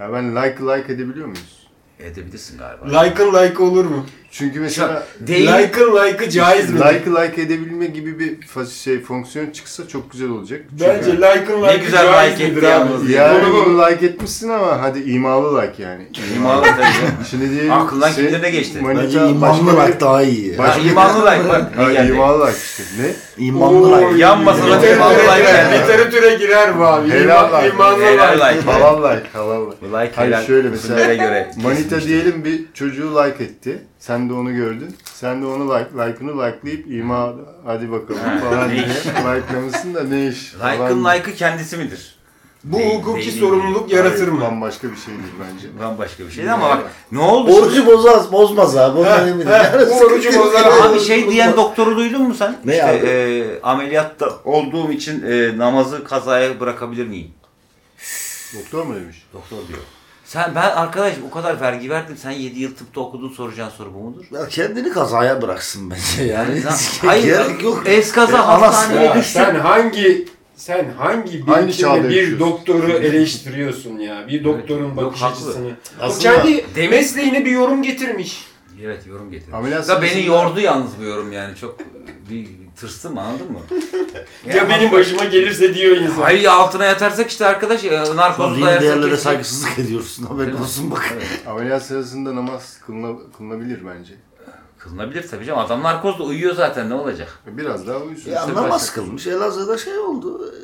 [SPEAKER 2] Ya ben like like edebiliyor muyuz?
[SPEAKER 1] Edebilirsin galiba.
[SPEAKER 3] Like'ın like'ı olur mu?
[SPEAKER 2] Çünkü mesela
[SPEAKER 1] Bak, değil.
[SPEAKER 3] Like'ın like'ı caiz mi?
[SPEAKER 2] like like edebilme gibi bir fa- şey fonksiyon çıksa çok güzel olacak. Çünkü-
[SPEAKER 3] Bence like'ın
[SPEAKER 1] Ne
[SPEAKER 3] like'ı
[SPEAKER 1] güzel
[SPEAKER 3] caiz
[SPEAKER 1] like
[SPEAKER 3] midir
[SPEAKER 1] etti yalnız.
[SPEAKER 3] abi?
[SPEAKER 2] yani
[SPEAKER 3] Bunu-
[SPEAKER 2] bunu like etmişsin ama hadi imalı like yani.
[SPEAKER 1] İmanlı tabii.
[SPEAKER 2] Şimdi diyelim
[SPEAKER 1] Aklından
[SPEAKER 2] şey-
[SPEAKER 1] kimlere geçti?
[SPEAKER 2] manita
[SPEAKER 4] Bence imanlı
[SPEAKER 2] başka
[SPEAKER 4] like daha iyi. ya.
[SPEAKER 1] Ya
[SPEAKER 2] Başka-
[SPEAKER 1] imanlı like bak.
[SPEAKER 2] bir-
[SPEAKER 1] ne
[SPEAKER 2] Ha,
[SPEAKER 1] geldi?
[SPEAKER 2] imalı like işte. Ne?
[SPEAKER 4] İmanlı like.
[SPEAKER 3] Oy,
[SPEAKER 1] Yan masada
[SPEAKER 3] literatüre
[SPEAKER 1] imanlı like
[SPEAKER 3] girer,
[SPEAKER 1] geldi.
[SPEAKER 3] Literatüre girer bu abi.
[SPEAKER 2] Helal
[SPEAKER 3] İman-
[SPEAKER 2] like.
[SPEAKER 3] İmanlı
[SPEAKER 1] Helal
[SPEAKER 3] like.
[SPEAKER 1] like.
[SPEAKER 2] Halal like halal like.
[SPEAKER 1] Bu like
[SPEAKER 2] Hayır,
[SPEAKER 1] helal.
[SPEAKER 2] şöyle mesela-
[SPEAKER 1] Bunlara göre.
[SPEAKER 2] Manita diyelim bir çocuğu like etti. Sen de onu gördün. Sen de onu like, like'ını like'layıp ima hadi
[SPEAKER 1] Ha,
[SPEAKER 2] bakalım falan
[SPEAKER 1] ne
[SPEAKER 2] diye
[SPEAKER 1] iş?
[SPEAKER 2] like'lamışsın da ne iş?
[SPEAKER 1] Like'ın
[SPEAKER 2] falan.
[SPEAKER 1] like'ı kendisi midir?
[SPEAKER 3] Bu
[SPEAKER 1] Değil,
[SPEAKER 3] hukuki
[SPEAKER 1] değil.
[SPEAKER 3] sorumluluk yaratır mı?
[SPEAKER 2] Bambaşka bir şeydir bence.
[SPEAKER 1] Bambaşka bir şey ama bak ne oldu?
[SPEAKER 4] Orucu bozmaz, bozmaz abi. Onu eminim. Yani
[SPEAKER 3] bu orucu
[SPEAKER 4] sıkıntı
[SPEAKER 3] bozar
[SPEAKER 4] yok.
[SPEAKER 1] Abi şey diyen doktoru duydun mu sen?
[SPEAKER 4] Ne
[SPEAKER 1] işte,
[SPEAKER 4] abi?
[SPEAKER 1] e, ameliyatta olduğum için e, namazı kazaya bırakabilir miyim?
[SPEAKER 2] Doktor mu demiş?
[SPEAKER 1] Doktor diyor. Sen ben arkadaş o kadar vergi verdim. Sen 7 yıl tıpta okudun soracağın soru bu mudur?
[SPEAKER 4] Ya kendini kazaya bıraksın bence yani.
[SPEAKER 1] Lan,
[SPEAKER 4] Hayır.
[SPEAKER 1] Hayır.
[SPEAKER 4] Gerek yok.
[SPEAKER 1] Eskaza
[SPEAKER 4] Ya,
[SPEAKER 1] hastaneye
[SPEAKER 3] Ya
[SPEAKER 1] düştün.
[SPEAKER 3] sen hangi sen hangi
[SPEAKER 2] Hangi çağda
[SPEAKER 3] biçimde bir
[SPEAKER 2] yaşıyorsun?
[SPEAKER 3] doktoru eleştiriyorsun ya? Bir doktorun
[SPEAKER 1] Yok,
[SPEAKER 3] bakış
[SPEAKER 1] haklı.
[SPEAKER 3] açısını. Bu
[SPEAKER 4] Aslında-
[SPEAKER 3] kendi mesleğine bir yorum getirmiş.
[SPEAKER 1] Evet yorum getirdim.
[SPEAKER 2] Ameliyat
[SPEAKER 1] Da beni
[SPEAKER 2] sırasında-
[SPEAKER 1] yordu yalnız bu yorum yani çok bir tırstım anladın mı?
[SPEAKER 3] Ya, benim başıma gelirse diyor insan.
[SPEAKER 1] Hayır altına yatarsak işte arkadaş e, narkozla
[SPEAKER 4] Dini değerlere
[SPEAKER 1] yatarsak.
[SPEAKER 4] saygısızlık ediyorsun. Haberin olsun bak.
[SPEAKER 2] Ameliyat sırasında namaz kılına, kılınabilir bence.
[SPEAKER 1] Kılınabilir tabii canım adam narkozla uyuyor zaten ne olacak?
[SPEAKER 2] Biraz daha uyusun.
[SPEAKER 4] Ya
[SPEAKER 2] İşte
[SPEAKER 4] namaz
[SPEAKER 2] başka-
[SPEAKER 4] kılmış. Elazığ'da şey oldu. Ee,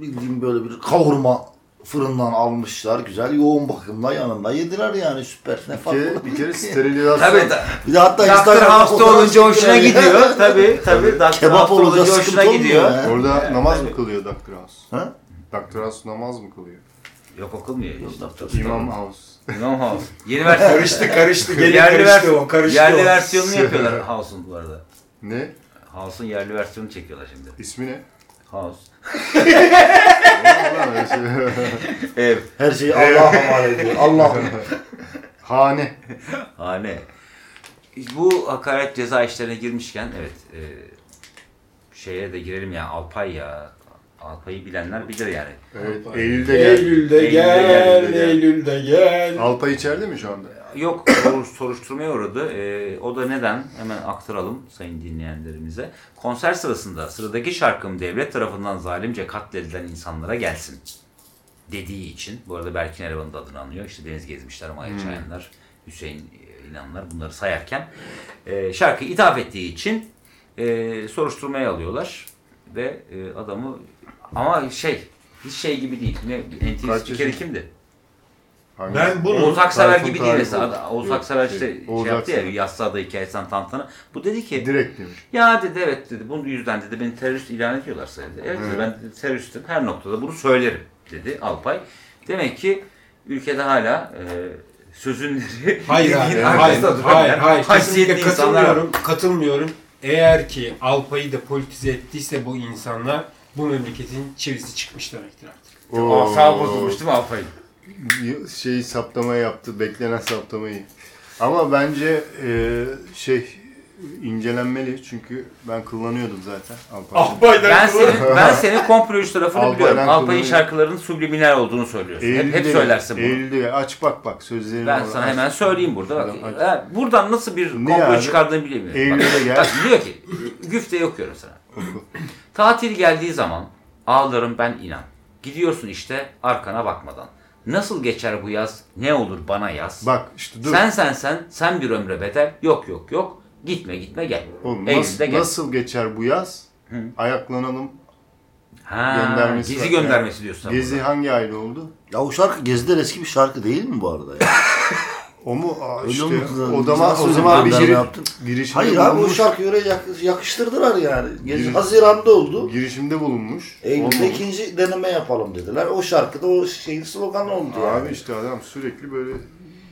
[SPEAKER 4] Bildiğim böyle bir kavurma fırından almışlar. Güzel yoğun bakımla yanında yediler yani süper. Ne
[SPEAKER 2] Bir
[SPEAKER 4] fark
[SPEAKER 2] kere,
[SPEAKER 4] olabilir
[SPEAKER 2] bir kere
[SPEAKER 4] ki?
[SPEAKER 2] sterilizasyon.
[SPEAKER 1] Tabii ta-
[SPEAKER 4] Bir de hatta
[SPEAKER 1] Doctor
[SPEAKER 4] Instagram'da
[SPEAKER 1] House'da
[SPEAKER 4] fotoğraf
[SPEAKER 1] olunca hoşuna
[SPEAKER 4] çekiyor ya.
[SPEAKER 1] gidiyor. Tabii tabii. Doctor
[SPEAKER 4] Kebap
[SPEAKER 1] House'da
[SPEAKER 4] olunca
[SPEAKER 1] olunca
[SPEAKER 4] sıkıntı
[SPEAKER 1] hoşuna
[SPEAKER 4] olmuyor
[SPEAKER 1] gidiyor.
[SPEAKER 4] ya.
[SPEAKER 2] Orada namaz mı kılıyor Dr. House?
[SPEAKER 4] Ha?
[SPEAKER 2] Dr. House namaz mı kılıyor?
[SPEAKER 1] Yok okulmuyor. işte.
[SPEAKER 2] İmam House.
[SPEAKER 1] İmam House. Yeni versiyonu.
[SPEAKER 3] Karıştı karıştı. Gene
[SPEAKER 1] yerli
[SPEAKER 3] karıştı
[SPEAKER 1] versiyonu.
[SPEAKER 3] o. Karıştı
[SPEAKER 1] yerli
[SPEAKER 3] o.
[SPEAKER 1] versiyonunu yapıyorlar House'un bu arada.
[SPEAKER 2] Ne?
[SPEAKER 1] House'un yerli versiyonunu çekiyorlar şimdi.
[SPEAKER 2] İsmi ne?
[SPEAKER 1] House.
[SPEAKER 2] Ulan öyle şey.
[SPEAKER 1] Ev.
[SPEAKER 4] Her şeyi Allah'a havale ediyor. Allah'ım.
[SPEAKER 2] Hane.
[SPEAKER 1] Hane. Bu hakaret ceza işlerine girmişken evet e, şeye de girelim yani Alpay ya. Alpay'ı bilenler bilir yani.
[SPEAKER 2] Evet,
[SPEAKER 3] Alpay.
[SPEAKER 2] Eylül'de gel.
[SPEAKER 3] Eylül'de
[SPEAKER 1] gel,
[SPEAKER 3] gel,
[SPEAKER 2] gel.
[SPEAKER 3] Eylül'de gel.
[SPEAKER 2] Alpay içeride mi şu anda?
[SPEAKER 1] Yok soru- soruşturmaya uğradı. E, o da neden? Hemen aktaralım sayın dinleyenlerimize. Konser sırasında sıradaki şarkım devlet tarafından zalimce katledilen insanlara gelsin dediği için. Bu arada Berkin Eraban'ın da adını anıyor. İşte Deniz Gezmişler, Maya Çayanlar, Hüseyin e, İnanlar bunları sayarken. E, şarkı ithaf ettiği için e, soruşturmaya alıyorlar. Ve e, adamı ama şey hiç şey gibi değil. Ne, NTV
[SPEAKER 2] Kaç
[SPEAKER 1] spikeri
[SPEAKER 2] yaşında?
[SPEAKER 1] kimdi?
[SPEAKER 2] Hangisi?
[SPEAKER 3] Ben bunu
[SPEAKER 1] Oğuz Aksever
[SPEAKER 2] Tayfun
[SPEAKER 1] gibi değil
[SPEAKER 2] Tayfun.
[SPEAKER 1] mesela. Oğuz
[SPEAKER 2] Yok,
[SPEAKER 1] Aksever
[SPEAKER 2] şey,
[SPEAKER 1] işte
[SPEAKER 2] Oğuz
[SPEAKER 1] şey yaptı ya
[SPEAKER 2] Aksever.
[SPEAKER 1] Yassıada hikayesinden tantana. Bu dedi ki
[SPEAKER 2] Direkt demiş.
[SPEAKER 1] ya dedi evet dedi bunun yüzden dedi beni terörist ilan ediyorlar sana dedi. Evet dedi, ben dedi, teröristim her noktada bunu söylerim dedi Alpay. Demek ki ülkede hala e, sözünleri
[SPEAKER 3] Hayır abi,
[SPEAKER 1] dediğin
[SPEAKER 3] hayır, hayır,
[SPEAKER 1] arkasında duran,
[SPEAKER 3] hayır,
[SPEAKER 1] yani haysiyetli
[SPEAKER 3] kesinlikle
[SPEAKER 1] insanlar var.
[SPEAKER 3] katılmıyorum, katılmıyorum. Eğer ki Alpay'ı da politize ettiyse bu insanlar bu memleketin çivisi çıkmış demektir artık.
[SPEAKER 1] Aa, Sağ bozulmuş değil mi Alpay'ın?
[SPEAKER 2] Şey saptama yaptı. Beklenen saptamayı. Ama bence e, şey incelenmeli çünkü ben kullanıyordum zaten Alpay.
[SPEAKER 3] Ah,
[SPEAKER 1] Ben senin, ben senin komplojist tarafını
[SPEAKER 2] Alpay'dan
[SPEAKER 1] biliyorum. Alpay'ın
[SPEAKER 2] kullanıyor.
[SPEAKER 1] şarkılarının subliminal olduğunu söylüyorsun. hep, hep
[SPEAKER 2] Eylül'de-
[SPEAKER 1] söylersin bunu.
[SPEAKER 2] Eylül'de gel. aç bak bak sözlerini.
[SPEAKER 1] Ben
[SPEAKER 2] bana
[SPEAKER 1] sana
[SPEAKER 2] aç.
[SPEAKER 1] hemen söyleyeyim burada. Bak,
[SPEAKER 2] Adam aç.
[SPEAKER 1] ha, buradan nasıl bir
[SPEAKER 2] Ne
[SPEAKER 1] komplo
[SPEAKER 2] abi?
[SPEAKER 1] çıkardığını bilemiyorum. Bak,
[SPEAKER 2] Eylül'de gel.
[SPEAKER 1] bak diyor ki, güfteyi okuyorum sana. Tatil geldiği zaman ağlarım ben inan. Gidiyorsun işte arkana bakmadan. Nasıl geçer bu yaz, ne olur bana yaz.
[SPEAKER 2] Bak işte dur.
[SPEAKER 1] Sen sen sen, sen bir ömre bedel. Yok yok yok, gitme gitme gel.
[SPEAKER 2] Oğlum,
[SPEAKER 1] Eylül'de
[SPEAKER 2] nasıl,
[SPEAKER 1] gel.
[SPEAKER 2] nasıl geçer bu yaz? Ayaklanalım.
[SPEAKER 1] Ha,
[SPEAKER 2] göndermesi
[SPEAKER 1] gezi
[SPEAKER 2] var.
[SPEAKER 1] göndermesi diyorsun. sen
[SPEAKER 2] Gezi
[SPEAKER 1] burada.
[SPEAKER 2] hangi ayda oldu?
[SPEAKER 4] Ya o şarkı Gezi'den eski bir şarkı değil mi bu arada ya?
[SPEAKER 2] O mu? Aa,
[SPEAKER 4] Öyle
[SPEAKER 2] işte,
[SPEAKER 4] mi kızım?
[SPEAKER 2] o zaman
[SPEAKER 4] Nasıl
[SPEAKER 2] o zaman bir
[SPEAKER 4] gönderme
[SPEAKER 2] giriş,
[SPEAKER 4] yaptın?
[SPEAKER 2] girişimde
[SPEAKER 4] Hayır abi o
[SPEAKER 2] bulunmuş.
[SPEAKER 4] şarkıyı oraya yak- yakıştırdılar yani. Gezi
[SPEAKER 2] Yürü.
[SPEAKER 4] Haziran'da oldu.
[SPEAKER 2] girişimde bulunmuş.
[SPEAKER 4] Eylül'de
[SPEAKER 2] Olmamış.
[SPEAKER 4] ikinci deneme yapalım dediler. O şarkıda o şeyin sloganı oldu yani.
[SPEAKER 2] Abi işte adam sürekli böyle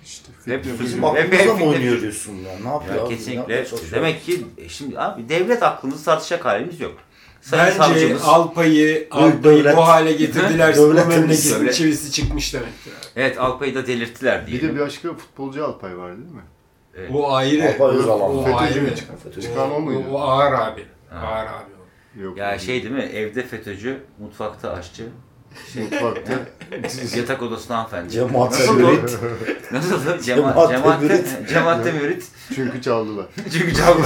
[SPEAKER 2] işte
[SPEAKER 1] Hep
[SPEAKER 2] fitne-
[SPEAKER 1] sözü-
[SPEAKER 4] Bizim aklımıza
[SPEAKER 1] Hep-
[SPEAKER 4] mı
[SPEAKER 1] hep-
[SPEAKER 4] oynuyor diyorsun ya? Ne yapıyor
[SPEAKER 1] Ya
[SPEAKER 4] abi? Ne
[SPEAKER 1] kesinlikle.
[SPEAKER 4] yapmaya çalışıyor?
[SPEAKER 1] Demek ki e, şimdi abi devlet aklımızı tartışacak halimiz yok. Sayın
[SPEAKER 3] Bence
[SPEAKER 1] savcımız-
[SPEAKER 3] Alpay'ı, Alpay'ı
[SPEAKER 4] devlet-
[SPEAKER 3] bu hale getirdilerse bu
[SPEAKER 4] Devletimiz-
[SPEAKER 3] memleketin
[SPEAKER 1] Devlet-
[SPEAKER 3] çivisi çıkmış demektir. abi.
[SPEAKER 1] Evet Alpay'ı da delirttiler diye.
[SPEAKER 2] Bir de bir başka futbolcu Alpay var değil mi?
[SPEAKER 3] Bu ayrı.
[SPEAKER 4] Alpay Özalan.
[SPEAKER 3] O
[SPEAKER 2] FETÖ'cü
[SPEAKER 3] ayrı.
[SPEAKER 2] mü çıkan? FETÖ'cü çıkan o muydu?
[SPEAKER 3] O, o ağır abi. Ağır abi. o.
[SPEAKER 2] Yok.
[SPEAKER 1] Ya şey değil mi? Evde FETÖ'cü, mutfakta aşçı,
[SPEAKER 2] mutfakta
[SPEAKER 1] yatak odasında hanımefendi.
[SPEAKER 4] Cemaat
[SPEAKER 1] Nasıl
[SPEAKER 4] mürit.
[SPEAKER 1] Nasıl? Cemaat,
[SPEAKER 4] Cemaatte
[SPEAKER 1] cemaatte,
[SPEAKER 4] mürit.
[SPEAKER 1] cemaatte mürit.
[SPEAKER 2] çünkü çaldılar.
[SPEAKER 1] Çünkü cevap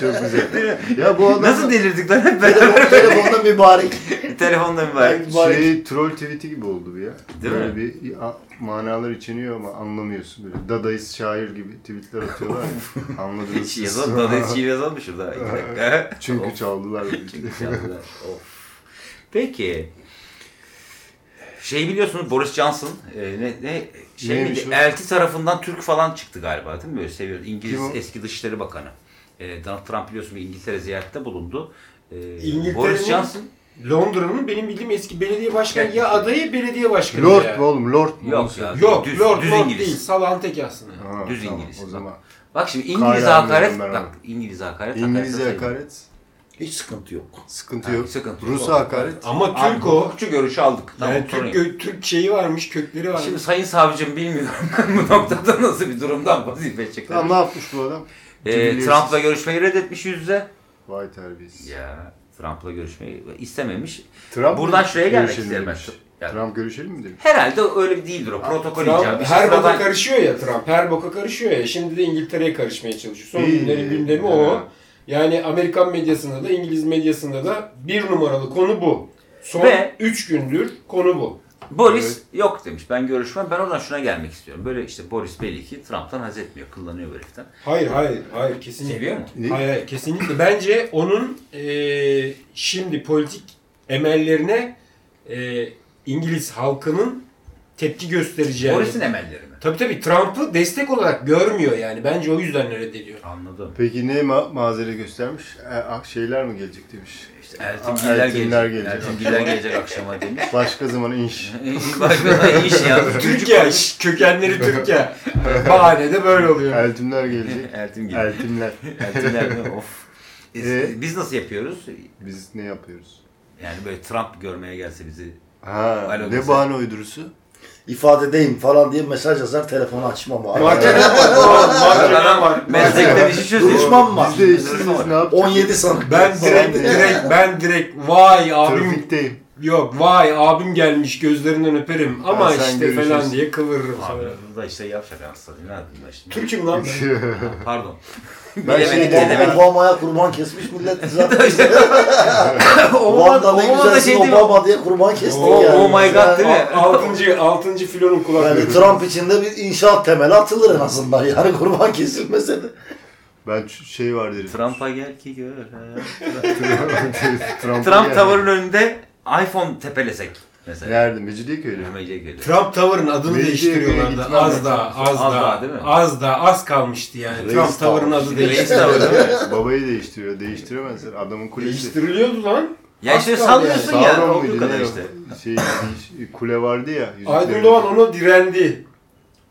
[SPEAKER 2] Çok güzel. Ya bu adam
[SPEAKER 1] Nasıl delirdik lan hep beraber?
[SPEAKER 4] Telefon- Telefonda mübarek.
[SPEAKER 1] Telefonda mübarek.
[SPEAKER 4] mübarek.
[SPEAKER 2] şey troll tweet'i gibi oldu bu ya.
[SPEAKER 1] Değil
[SPEAKER 2] böyle
[SPEAKER 1] mi?
[SPEAKER 2] bir a- manalar içiniyor ama anlamıyorsun böyle. Dadaist şair gibi tweet'ler atıyorlar. ya. Anladınız.
[SPEAKER 1] Hiç
[SPEAKER 2] siz.
[SPEAKER 1] yazalım. Daha da hiç şiir yazalım mı şurada? İki dakika.
[SPEAKER 2] Çünkü
[SPEAKER 1] Of,
[SPEAKER 2] çaldılar. dedi.
[SPEAKER 1] Çünkü çaldılar. Of. Peki. Şey biliyorsunuz Boris Johnson e, ne, ne şey
[SPEAKER 2] Neymiş
[SPEAKER 1] miydi?
[SPEAKER 2] o?
[SPEAKER 1] Elti tarafından Türk falan çıktı galiba değil mi? Böyle seviyoruz. İngiliz
[SPEAKER 2] Kim o?
[SPEAKER 1] eski Dışişleri Bakanı. E, Donald Trump biliyorsunuz İngiltere ziyarette bulundu. E,
[SPEAKER 3] İngiltere'nin-
[SPEAKER 1] Boris Johnson
[SPEAKER 3] Londra'nın benim bildiğim eski belediye başkanı ya adayı belediye başkanı ya.
[SPEAKER 2] Lord mu oğlum? Lord mu?
[SPEAKER 1] Yok ya.
[SPEAKER 3] Yok,
[SPEAKER 1] düz,
[SPEAKER 3] Lord,
[SPEAKER 1] düz
[SPEAKER 3] Lord
[SPEAKER 1] İngiliz.
[SPEAKER 3] değil. Salağın tek aslında.
[SPEAKER 2] Ha,
[SPEAKER 1] Düz
[SPEAKER 2] tamam,
[SPEAKER 1] İngiliz.
[SPEAKER 2] O zaman.
[SPEAKER 1] Bak şimdi
[SPEAKER 2] Kayran
[SPEAKER 1] İngiliz'e hakaret.
[SPEAKER 2] diyorum ben ona.
[SPEAKER 1] Bak İngiliz'e hakaret.
[SPEAKER 2] İngilizce
[SPEAKER 1] hakaret sayılır.
[SPEAKER 2] hakaret.
[SPEAKER 4] Hiç sıkıntı yok.
[SPEAKER 2] Sıkıntı
[SPEAKER 1] Ha,
[SPEAKER 2] yok.
[SPEAKER 1] sıkıntı
[SPEAKER 2] Rus'a
[SPEAKER 1] yok.
[SPEAKER 2] hakaret.
[SPEAKER 3] Ama
[SPEAKER 1] Abi,
[SPEAKER 3] Türk o.
[SPEAKER 1] Hukukçu görüşü aldık. Tamam,
[SPEAKER 3] Yani
[SPEAKER 1] sorun
[SPEAKER 3] Türk,
[SPEAKER 1] yok.
[SPEAKER 3] gö- Türk şeyi varmış, kökleri varmış.
[SPEAKER 1] Şimdi sayın savcım bilmiyorum bu noktada nasıl bir durumdan vazife çıkar.
[SPEAKER 2] Tamam ne yapmış bu adam?
[SPEAKER 1] Ee,
[SPEAKER 2] Biliyorsunuz.
[SPEAKER 1] Trump'la görüşmeyi reddetmiş yüz yüze.
[SPEAKER 2] Vay terbiyesiz.
[SPEAKER 1] Ya Trump'la görüşmeyi istememiş.
[SPEAKER 2] Trump
[SPEAKER 1] Buradan şuraya gelmek
[SPEAKER 2] görüşelim
[SPEAKER 1] isterim ben.
[SPEAKER 2] demiş.
[SPEAKER 1] Yani.
[SPEAKER 2] Trump görüşelim mi demiş.
[SPEAKER 1] Herhalde öyle bir değildir o. Protokol icabı.
[SPEAKER 3] Trump her
[SPEAKER 1] Sıradan-
[SPEAKER 3] boka karışıyor ya Trump. Her boka karışıyor ya. Şimdi de İngiltere'ye karışmaya çalışıyor. Son
[SPEAKER 2] İyi, iyi,
[SPEAKER 3] günlerin gündemi
[SPEAKER 2] iyi.
[SPEAKER 3] o. Yani Amerikan medyasında da İngiliz medyasında da bir numaralı konu bu. Son
[SPEAKER 1] Ve-
[SPEAKER 3] 3 gündür konu bu.
[SPEAKER 1] Boris
[SPEAKER 2] Evet.
[SPEAKER 1] yok demiş. Ben görüşmem. Ben oradan şuna gelmek istiyorum. Böyle işte Boris belli ki Trump'tan haz etmiyor. Kullanıyor bu heriften.
[SPEAKER 3] Hayır hayır hayır kesinlikle.
[SPEAKER 1] Seviyor mu?
[SPEAKER 2] Ne?
[SPEAKER 3] Hayır, hayır, kesinlikle. Bence onun e, şimdi politik emellerine e, İngiliz halkının tepki göstereceğini.
[SPEAKER 1] Boris'in emelleri mi?
[SPEAKER 3] Tabii tabii Trump'ı destek olarak görmüyor yani. Bence o yüzden reddediyor.
[SPEAKER 1] Anladım.
[SPEAKER 2] Peki ne ma- mazeri göstermiş? E, ah, şeyler mi gelecek demiş.
[SPEAKER 1] İşte Eltingiller
[SPEAKER 2] Eltingler
[SPEAKER 1] gelecek.
[SPEAKER 2] gelecek.
[SPEAKER 1] Eltingiller gelecek akşama demiş.
[SPEAKER 2] Başka zaman inş.
[SPEAKER 1] Başka da şey iş ya.
[SPEAKER 3] Türkiye, şş, kökenleri Türkiye. Bahane de böyle oluyor.
[SPEAKER 2] Eltimler gelecek.
[SPEAKER 1] Eltim gelecek.
[SPEAKER 2] Eltimler.
[SPEAKER 1] Eltimler mi? Of.
[SPEAKER 2] Ee?
[SPEAKER 1] biz nasıl yapıyoruz?
[SPEAKER 2] Biz ne yapıyoruz?
[SPEAKER 1] Yani böyle Trump görmeye gelse bizi
[SPEAKER 2] Ha,
[SPEAKER 1] Alo,
[SPEAKER 2] ne
[SPEAKER 1] bize.
[SPEAKER 2] bahane uydurusu?
[SPEAKER 4] İfadedeyim falan diye mesaj yazar telefonu açmam abi.
[SPEAKER 3] Marketten var.
[SPEAKER 1] meslekten işi şey çözüyor.
[SPEAKER 4] Düşman var.
[SPEAKER 2] Biz de işsiniz ne yaptık?
[SPEAKER 4] 17 sanık.
[SPEAKER 3] Ben direkt,
[SPEAKER 2] Babam ya.
[SPEAKER 3] direkt, ben direkt vay abim
[SPEAKER 2] Trafikteyim.
[SPEAKER 3] yok vay abim gelmiş gözlerinden öperim ama
[SPEAKER 2] sen
[SPEAKER 3] işte
[SPEAKER 2] görüşürüz.
[SPEAKER 3] falan diye kıvırırım
[SPEAKER 1] Abi
[SPEAKER 3] sana.
[SPEAKER 1] bu da işte yavşak anasını. Ne yapayım ben şimdi?
[SPEAKER 3] Türk'üm lan ben.
[SPEAKER 1] Pardon.
[SPEAKER 2] Ben
[SPEAKER 1] Bilemedik,
[SPEAKER 2] şey
[SPEAKER 1] ne demek?
[SPEAKER 4] Obama- Obama'ya kurban kesmiş millet zaten. Obama
[SPEAKER 1] Obama
[SPEAKER 4] ne
[SPEAKER 1] da
[SPEAKER 4] güzelsin
[SPEAKER 1] şey değil mi?
[SPEAKER 4] Obama diye kurban kestik
[SPEAKER 3] Oh,
[SPEAKER 4] yani.
[SPEAKER 1] oh my God değil mi?
[SPEAKER 3] Al- Altıncı, altıncı filonun
[SPEAKER 4] Yani
[SPEAKER 3] kulakları.
[SPEAKER 4] Trump için de bir inşaat temeli atılır en azından yani kurban kesilmese de.
[SPEAKER 2] Ben ç- şey var derim.
[SPEAKER 1] Trump'a gel ki gör.
[SPEAKER 2] Trump,
[SPEAKER 1] Trump Tower'ın önünde iPhone tepelesek mesela.
[SPEAKER 2] Nerede? Mecidiyeköy'de mi?
[SPEAKER 1] Meceköy'de.
[SPEAKER 3] Trump Tower'ın adını
[SPEAKER 2] Belediye
[SPEAKER 3] değiştiriyorlardı.
[SPEAKER 2] gitmem
[SPEAKER 3] Az
[SPEAKER 2] lazım.
[SPEAKER 3] da, az,
[SPEAKER 1] Az
[SPEAKER 3] da,
[SPEAKER 1] daha değil mi?
[SPEAKER 3] az da, az kalmıştı yani.
[SPEAKER 4] Reis
[SPEAKER 3] Trump Tower'ın
[SPEAKER 4] Tower.
[SPEAKER 3] adı
[SPEAKER 1] Reis
[SPEAKER 3] değişti.
[SPEAKER 1] Tower değil mi?
[SPEAKER 2] Babayı değiştiriyor. Değiştiremezler. Adamın kulesi.
[SPEAKER 3] Değiştiriliyordu lan.
[SPEAKER 1] Ya işte
[SPEAKER 3] Aslan
[SPEAKER 1] sallıyorsun
[SPEAKER 2] Sauron
[SPEAKER 1] ya. Olduğu
[SPEAKER 2] muydu
[SPEAKER 1] kadar
[SPEAKER 2] ne o?
[SPEAKER 1] işte.
[SPEAKER 2] Şey, bir kule vardı ya. yüzüklerin.
[SPEAKER 3] Aydın Doğan ona direndi.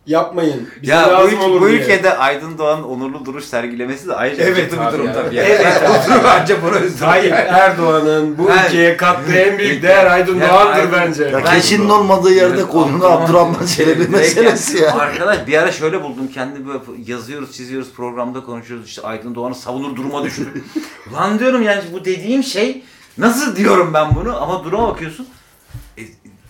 [SPEAKER 3] Yapmayın. Bize
[SPEAKER 1] ya bu,
[SPEAKER 3] lazım
[SPEAKER 1] ülke-
[SPEAKER 3] olur
[SPEAKER 1] bu
[SPEAKER 3] diye.
[SPEAKER 1] ülkede Aydın Doğan onurlu duruş sergilemesi de ayrıca
[SPEAKER 3] Evet
[SPEAKER 1] kötü bir
[SPEAKER 3] abi
[SPEAKER 1] durum
[SPEAKER 3] ya.
[SPEAKER 1] tabii. Yani.
[SPEAKER 3] Evet
[SPEAKER 1] bu durum ancak bunu özür
[SPEAKER 3] Tayyip Erdoğan'ın bu
[SPEAKER 1] Ben-
[SPEAKER 3] ülkeye kattığı en büyük değer Aydın
[SPEAKER 1] Ya,
[SPEAKER 3] Doğan'dır
[SPEAKER 1] Aydın-
[SPEAKER 3] bence.
[SPEAKER 4] Ya
[SPEAKER 1] Ben-
[SPEAKER 4] keçinin olmadığı yerde koyunu Abdurrahman Çelebi meselesi ya.
[SPEAKER 1] Arkadaş bir ara şöyle buldum kendimi böyle yazıyoruz, çiziyoruz, programda konuşuyoruz işte Aydın Doğan'ı savunur duruma düştüm. Lan diyorum yani bu dediğim şey nasıl diyorum ben bunu ama duruma bakıyorsun. e,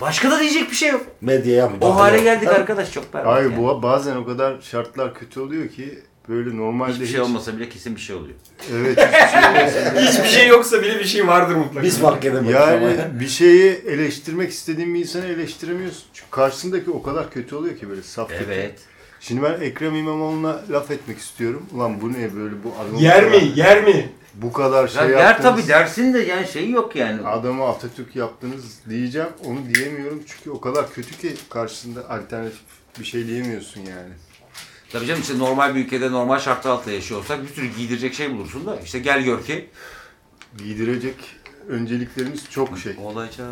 [SPEAKER 1] başka da diyecek bir şey yok.
[SPEAKER 4] Medyaya mı?
[SPEAKER 1] O hale geldik arkadaş çok berbat.
[SPEAKER 2] Hayır
[SPEAKER 1] yani.
[SPEAKER 2] bu bazen o kadar şartlar kötü oluyor ki böyle normalde
[SPEAKER 1] Hiçbir
[SPEAKER 2] hiç-
[SPEAKER 1] şey olmasa bile kesin bir şey oluyor.
[SPEAKER 2] Evet hiçbir şey olmasa bile-
[SPEAKER 3] Hiçbir şey yoksa bile bir şey vardır mutlaka.
[SPEAKER 4] Biz fark edemedik
[SPEAKER 1] şey
[SPEAKER 4] ama. ya.
[SPEAKER 2] Yani bir şeyi eleştirmek istediğin bir insanı eleştiremiyorsun. Çünkü karşısındaki o kadar kötü oluyor ki böyle saf kötü.
[SPEAKER 1] Evet.
[SPEAKER 2] Şimdi ben Ekrem İmamoğlu'na laf etmek istiyorum. Ulan bu ne böyle bu adamı
[SPEAKER 3] Yer mi? Yer mi?
[SPEAKER 2] Bu kadar şey
[SPEAKER 1] Ya der
[SPEAKER 2] yaptınız.
[SPEAKER 1] tabii dersin de yani şey yok yani.
[SPEAKER 2] Adamı Atatürk yaptınız diyeceğim. Onu diyemiyorum çünkü o kadar kötü ki karşısında alternatif bir şey diyemiyorsun yani.
[SPEAKER 1] Tabii canım işte normal bir ülkede normal şartlar altında yaşıyor olsak bir sürü giydirecek şey bulursun da işte gel gör ki
[SPEAKER 2] Giydirecek önceliklerimiz çok şey.
[SPEAKER 1] olacak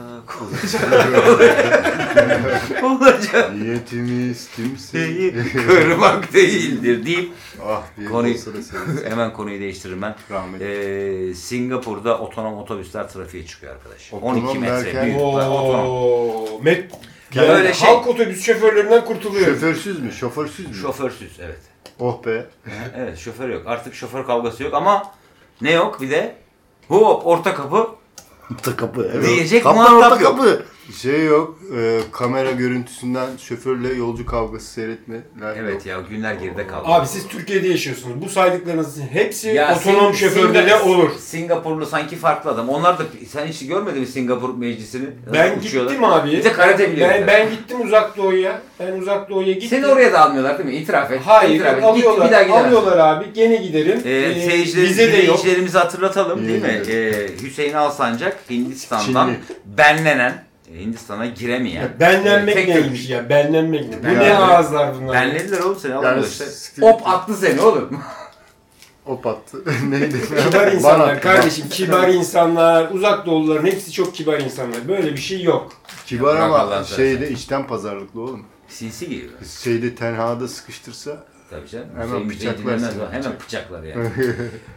[SPEAKER 1] olacak olacak
[SPEAKER 2] Niyetimiz kimseyi
[SPEAKER 1] şeyi kırmak değildir deyip
[SPEAKER 2] ah diye
[SPEAKER 1] Konuyu-
[SPEAKER 2] olsa da severiz.
[SPEAKER 1] hemen konuyu değiştiririm ben.
[SPEAKER 2] Rahmet.
[SPEAKER 1] Ee, Singapur'da otonom otobüsler trafiğe çıkıyor arkadaş.
[SPEAKER 2] Otonom
[SPEAKER 1] 12 metre
[SPEAKER 2] derken-
[SPEAKER 1] büyüklükte otonom.
[SPEAKER 3] Ooo. Met
[SPEAKER 1] Ya
[SPEAKER 3] yani
[SPEAKER 1] öyle şey-
[SPEAKER 3] halk otobüs şoförlerinden kurtuluyor.
[SPEAKER 2] Şoförsüz mü? Şoförsüz mü?
[SPEAKER 1] Şoförsüz evet.
[SPEAKER 2] oh be.
[SPEAKER 1] Evet şoför yok. Artık şoför kavgası yok ama ne yok bir de hop orta kapı
[SPEAKER 4] Orta kapı. Evet.
[SPEAKER 1] Diyecek
[SPEAKER 4] Kapı
[SPEAKER 1] muhatap
[SPEAKER 4] orta
[SPEAKER 1] yok.
[SPEAKER 4] kapı.
[SPEAKER 2] Şey yok. e, kamera görüntüsünden şoförle yolcu kavgası seyretmeler
[SPEAKER 1] Evet
[SPEAKER 2] yok.
[SPEAKER 1] ya günler geride kaldı.
[SPEAKER 3] Abi siz Türkiye'de yaşıyorsunuz. Bu saydıklarınızın hepsi
[SPEAKER 1] Ya
[SPEAKER 3] otonom
[SPEAKER 1] Sing-
[SPEAKER 3] şoförde de
[SPEAKER 1] Singa-
[SPEAKER 3] olur.
[SPEAKER 1] Singapurlu sanki farklı adam. Onlar da sen hiç görmedin mi Singapur meclisini? Nasıl
[SPEAKER 3] Ben
[SPEAKER 1] uçuyorlar?
[SPEAKER 3] gittim abi.
[SPEAKER 1] Bir de karate biliyorum.
[SPEAKER 3] Ben, ben gittim uzak doğuya. Ben uzak doğuya gittim.
[SPEAKER 1] Seni oraya da almıyorlar değil mi? İtiraf et.
[SPEAKER 3] Hayır,
[SPEAKER 1] İtiraf et. Git,
[SPEAKER 3] alıyorlar,
[SPEAKER 1] bir daha gidemezsin.
[SPEAKER 3] alıyorlar abi. Gene giderim.
[SPEAKER 1] Ee, şey-
[SPEAKER 3] Ee,
[SPEAKER 1] seyirciler,
[SPEAKER 3] vize de yok.
[SPEAKER 1] dinleyicilerimizi hatırlatalım değil mi?
[SPEAKER 2] Evet.
[SPEAKER 1] Ee, Hüseyin Alsancak Hindistan'dan benlenen, e, Hindistan'a giremeyen.
[SPEAKER 3] Ya benlenmek
[SPEAKER 1] Tek
[SPEAKER 3] neymiş
[SPEAKER 1] Türk.
[SPEAKER 3] ya? Benlenmek ne? Bu ne
[SPEAKER 2] Yani-
[SPEAKER 3] ağızlar bunlar?
[SPEAKER 1] Benlediler oğlum seni alıyorlar
[SPEAKER 2] Yani
[SPEAKER 1] işte.
[SPEAKER 2] siktir-
[SPEAKER 1] Op attı seni oğlum.
[SPEAKER 2] Hop attı. Neydi?
[SPEAKER 3] Kibar
[SPEAKER 2] Ban
[SPEAKER 3] insanlar
[SPEAKER 2] attı,
[SPEAKER 3] kardeşim. Kibar insanlar. Uzak doğuların hepsi çok kibar insanlar. Böyle bir şey yok.
[SPEAKER 2] ban. Kibar
[SPEAKER 1] Bırak Allah'ını
[SPEAKER 2] ama şeyde içten pazarlıklı oğlum.
[SPEAKER 1] Sinsi gibi.
[SPEAKER 2] Şeyde tenhada sıkıştırsa
[SPEAKER 1] Tabii canım.
[SPEAKER 2] Hemen
[SPEAKER 1] Hüseyin bizi
[SPEAKER 2] bıçaklar
[SPEAKER 1] dinlemez
[SPEAKER 2] seni.
[SPEAKER 1] lan. Hemen bıçaklar yani.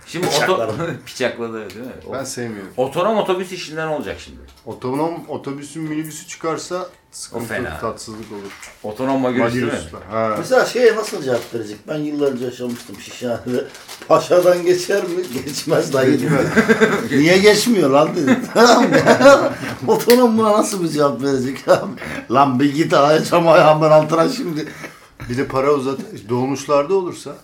[SPEAKER 1] Şimdi oto...
[SPEAKER 4] Bıçaklar.
[SPEAKER 1] bıçakladı değil mi? O-
[SPEAKER 2] ben sevmiyorum.
[SPEAKER 1] Otonom otobüs işinden olacak şimdi.
[SPEAKER 2] Otonom otobüsün minibüsü çıkarsa
[SPEAKER 1] O fena.
[SPEAKER 2] sıkıntı tatsızlık olur.
[SPEAKER 1] Otonomla görüştü mü?
[SPEAKER 2] Magirus'la. Ha.
[SPEAKER 4] Mesela şeye nasıl cevap verecek? Ben yıllarca yaşamıştım Şişhane'de. Paşa'dan geçer mi? Geçmez dayı. Niye geçmiyor lan dedim. Tamam mı? Otonom buna nasıl bir cevap verecek abi? Lan bir git ayacağım ayağımın altına şimdi.
[SPEAKER 2] Bir de para uzat dolmuşlarda olursa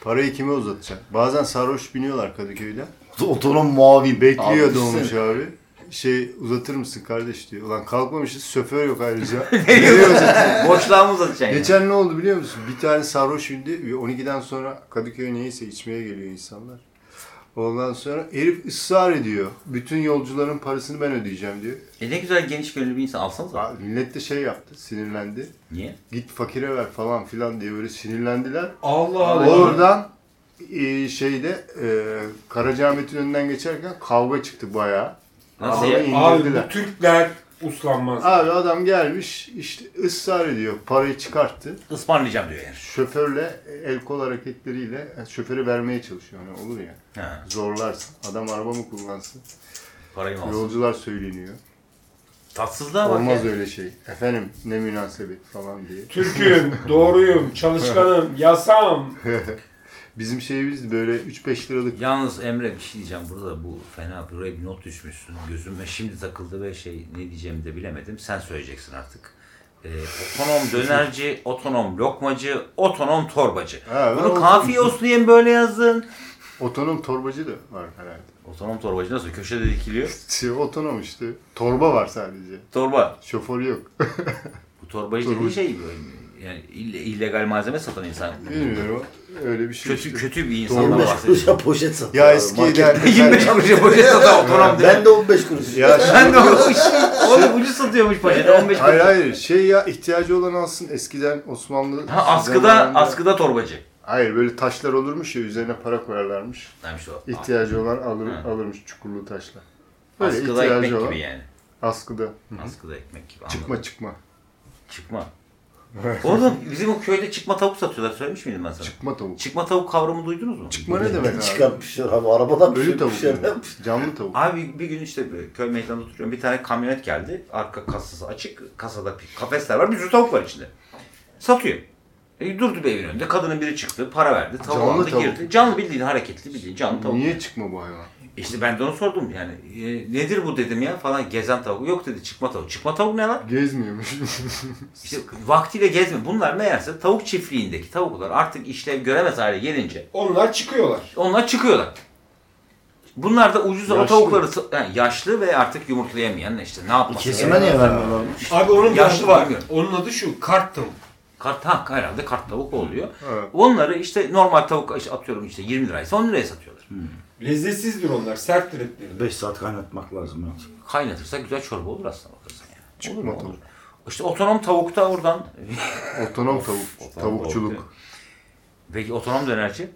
[SPEAKER 2] parayı kime uzatacak? Bazen sarhoş biniyorlar Kadıköy'den.
[SPEAKER 4] Otonom mavi
[SPEAKER 2] Bekliyor
[SPEAKER 4] Abi,
[SPEAKER 2] dolmuş
[SPEAKER 4] sen-
[SPEAKER 2] abi. Şey uzatır mısın kardeş diyor. Ulan kalkmamışız şoför yok ayrıca. Nereye uzatayım?
[SPEAKER 1] Boşluğa mı uzatacaksın? yani?
[SPEAKER 2] Geçen ne oldu biliyor musun? Bir tane sarhoş indi. 12'den sonra Kadıköy neyse içmeye geliyor insanlar. Ondan sonra herif ısrar ediyor. Bütün yolcuların parasını ben ödeyeceğim diyor.
[SPEAKER 1] E ne güzel geniş gönüllü bir insan alsanıza.
[SPEAKER 2] Aa, Millet de şey yaptı sinirlendi.
[SPEAKER 1] Niye?
[SPEAKER 2] Git fakire ver falan filan diye böyle sinirlendiler.
[SPEAKER 3] Allah Allah.
[SPEAKER 2] Oradan e, şeyde e, Karacaahmet'in önünden geçerken kavga çıktı bayağı.
[SPEAKER 1] Nasıl
[SPEAKER 2] Abi,
[SPEAKER 1] ya?
[SPEAKER 2] indirdiler.
[SPEAKER 3] Abi bu Türkler uslanmaz.
[SPEAKER 2] Abi adam gelmiş işte ısrar ediyor. Parayı çıkarttı.
[SPEAKER 1] Ismarlayacağım diyor yani.
[SPEAKER 2] Şoförle el kol hareketleriyle yani şoförü vermeye çalışıyor. Hani olur ya
[SPEAKER 1] Ha,
[SPEAKER 2] zorlarsın. Adam araba mı kullansın?
[SPEAKER 1] parayı mı alsın?
[SPEAKER 2] Yolcular söyleniyor.
[SPEAKER 1] Tatsızlığa bak
[SPEAKER 2] Olmaz
[SPEAKER 1] ya.
[SPEAKER 2] öyle şey. Efendim ne münasebet falan diye.
[SPEAKER 3] Türk'üm, doğruyum, çalışkanım, yasam.
[SPEAKER 2] Bizim şeyimiz böyle 3-5 liralık
[SPEAKER 1] Yalnız Emre bir şey diyeceğim burada bu fena buraya bir not düşmüşsün gözüme şimdi takıldı ve şey ne diyeceğimi de bilemedim sen söyleyeceksin artık. Ee, otonom dönerci, otonom lokmacı, otonom torbacı.
[SPEAKER 2] Ha, ben
[SPEAKER 1] Bunu
[SPEAKER 2] o-
[SPEAKER 1] kafiye olsun diye mi böyle yazdın?
[SPEAKER 2] otonom torbacı da var herhalde.
[SPEAKER 1] Otonom torbacı nasıl köşede dikiliyor?
[SPEAKER 2] Şey, otonom işte. Torba var sadece.
[SPEAKER 1] Torba.
[SPEAKER 2] Şoför yok.
[SPEAKER 1] Bu torbacı
[SPEAKER 2] Torbacı.
[SPEAKER 1] dediğin şey böyle yani ille- illegal malzeme satan insan.
[SPEAKER 2] Bilmiyorum. Öyle bir şey.
[SPEAKER 1] Kötü
[SPEAKER 2] işte.
[SPEAKER 1] kötü bir insandan
[SPEAKER 4] 25
[SPEAKER 1] bahsediyorum.
[SPEAKER 4] kuruşa poşet satıyor.
[SPEAKER 2] Ya
[SPEAKER 4] abi,
[SPEAKER 2] eski
[SPEAKER 4] market.
[SPEAKER 2] der.
[SPEAKER 1] 25 kuruşa poşet satan otonom
[SPEAKER 4] Ben de 15 kuruş.
[SPEAKER 2] Ya şu-
[SPEAKER 1] Ben de olmuş. Oğlum ucuz satıyormuş poşeti 15 kuruş.
[SPEAKER 2] Hayır hayır şey ya ihtiyacı olan alsın eskiden Osmanlı
[SPEAKER 1] Ha, askıda,
[SPEAKER 2] zamanında-
[SPEAKER 1] askıda torbacı.
[SPEAKER 2] Hayır böyle taşlar olurmuş ya üzerine para koyarlarmış.
[SPEAKER 1] Demiş o.
[SPEAKER 2] İhtiyacı olan alır,
[SPEAKER 1] Ha.
[SPEAKER 2] alırmış çukurlu taşlar. Böyle
[SPEAKER 1] Askıda
[SPEAKER 2] ihtiyacı
[SPEAKER 1] ekmek
[SPEAKER 2] olan.
[SPEAKER 1] gibi yani.
[SPEAKER 2] Askıda.
[SPEAKER 1] Askıda ekmek gibi. anladım.
[SPEAKER 2] Çıkma çıkma.
[SPEAKER 1] Çıkma. Oğlum bizim o köyde çıkma tavuk satıyorlar. Söylemiş miydim ben sana?
[SPEAKER 2] Çıkma tavuk.
[SPEAKER 1] Çıkma tavuk kavramı duydunuz mu?
[SPEAKER 2] Çıkma ne demek abi?
[SPEAKER 4] Çıkartmışlar abi arabadan
[SPEAKER 2] Ölü
[SPEAKER 4] bir
[SPEAKER 2] tavuk.
[SPEAKER 4] şey
[SPEAKER 2] yani. Canlı tavuk.
[SPEAKER 1] Abi bir gün işte böyle köy meydanında oturuyorum. Bir tane kamyonet geldi. Arka kasası açık. Kasada bir kafesler var. Bir sürü tavuk var içinde. Satıyor. E, durdu bir evin önünde. Kadının biri çıktı. Para verdi. Tavuğu
[SPEAKER 2] Canlı
[SPEAKER 1] aldı
[SPEAKER 2] tavuk.
[SPEAKER 1] girdi. Canlı bildiğin hareketli bildiğin canlı tavuk.
[SPEAKER 2] Niye çıkma bu hayvan?
[SPEAKER 1] E İşte ben de onu sordum. Yani e, nedir bu dedim ya falan. Gezen tavuk. Yok dedi çıkma tavuk. Çıkma tavuk ne lan?
[SPEAKER 2] Gezmiyormuş.
[SPEAKER 1] İşte vaktiyle gezme. Bunlar meğerse tavuk çiftliğindeki tavuklar artık işlev göremez hale gelince
[SPEAKER 3] Onlar çıkıyorlar.
[SPEAKER 1] onlar çıkıyorlar. Bunlar da ucuza o
[SPEAKER 2] Yaşlı.
[SPEAKER 1] tavukları sa- yani yaşlı ve artık yumurtlayamayan işte ne yapması
[SPEAKER 4] Kesime niye vermiyorlarmış?
[SPEAKER 3] Abi onun
[SPEAKER 1] Yaşlı
[SPEAKER 3] yaşlı var.
[SPEAKER 1] bilmiyorum.
[SPEAKER 3] Onun adı şu, kart tavuk.
[SPEAKER 1] Kart ha herhalde kart tavuk oluyor.
[SPEAKER 2] Evet.
[SPEAKER 1] Onları işte normal tavuk işte atıyorum işte 20 liraysa 10 liraya satıyorlar.
[SPEAKER 3] Lezzetsizdir onlar, serttir etleri.
[SPEAKER 4] 5 saat kaynatmak lazım artık.
[SPEAKER 1] Kaynatırsa güzel çorba olur aslında bakarsan yani.
[SPEAKER 2] Çıkma
[SPEAKER 1] Olur mu?
[SPEAKER 2] tavuk.
[SPEAKER 1] Olur. İşte otonom tavuk da oradan.
[SPEAKER 2] Otonom tavuk.
[SPEAKER 1] otonom
[SPEAKER 2] Tavukçuluk.
[SPEAKER 1] tavuk. Peki otonom dönerci?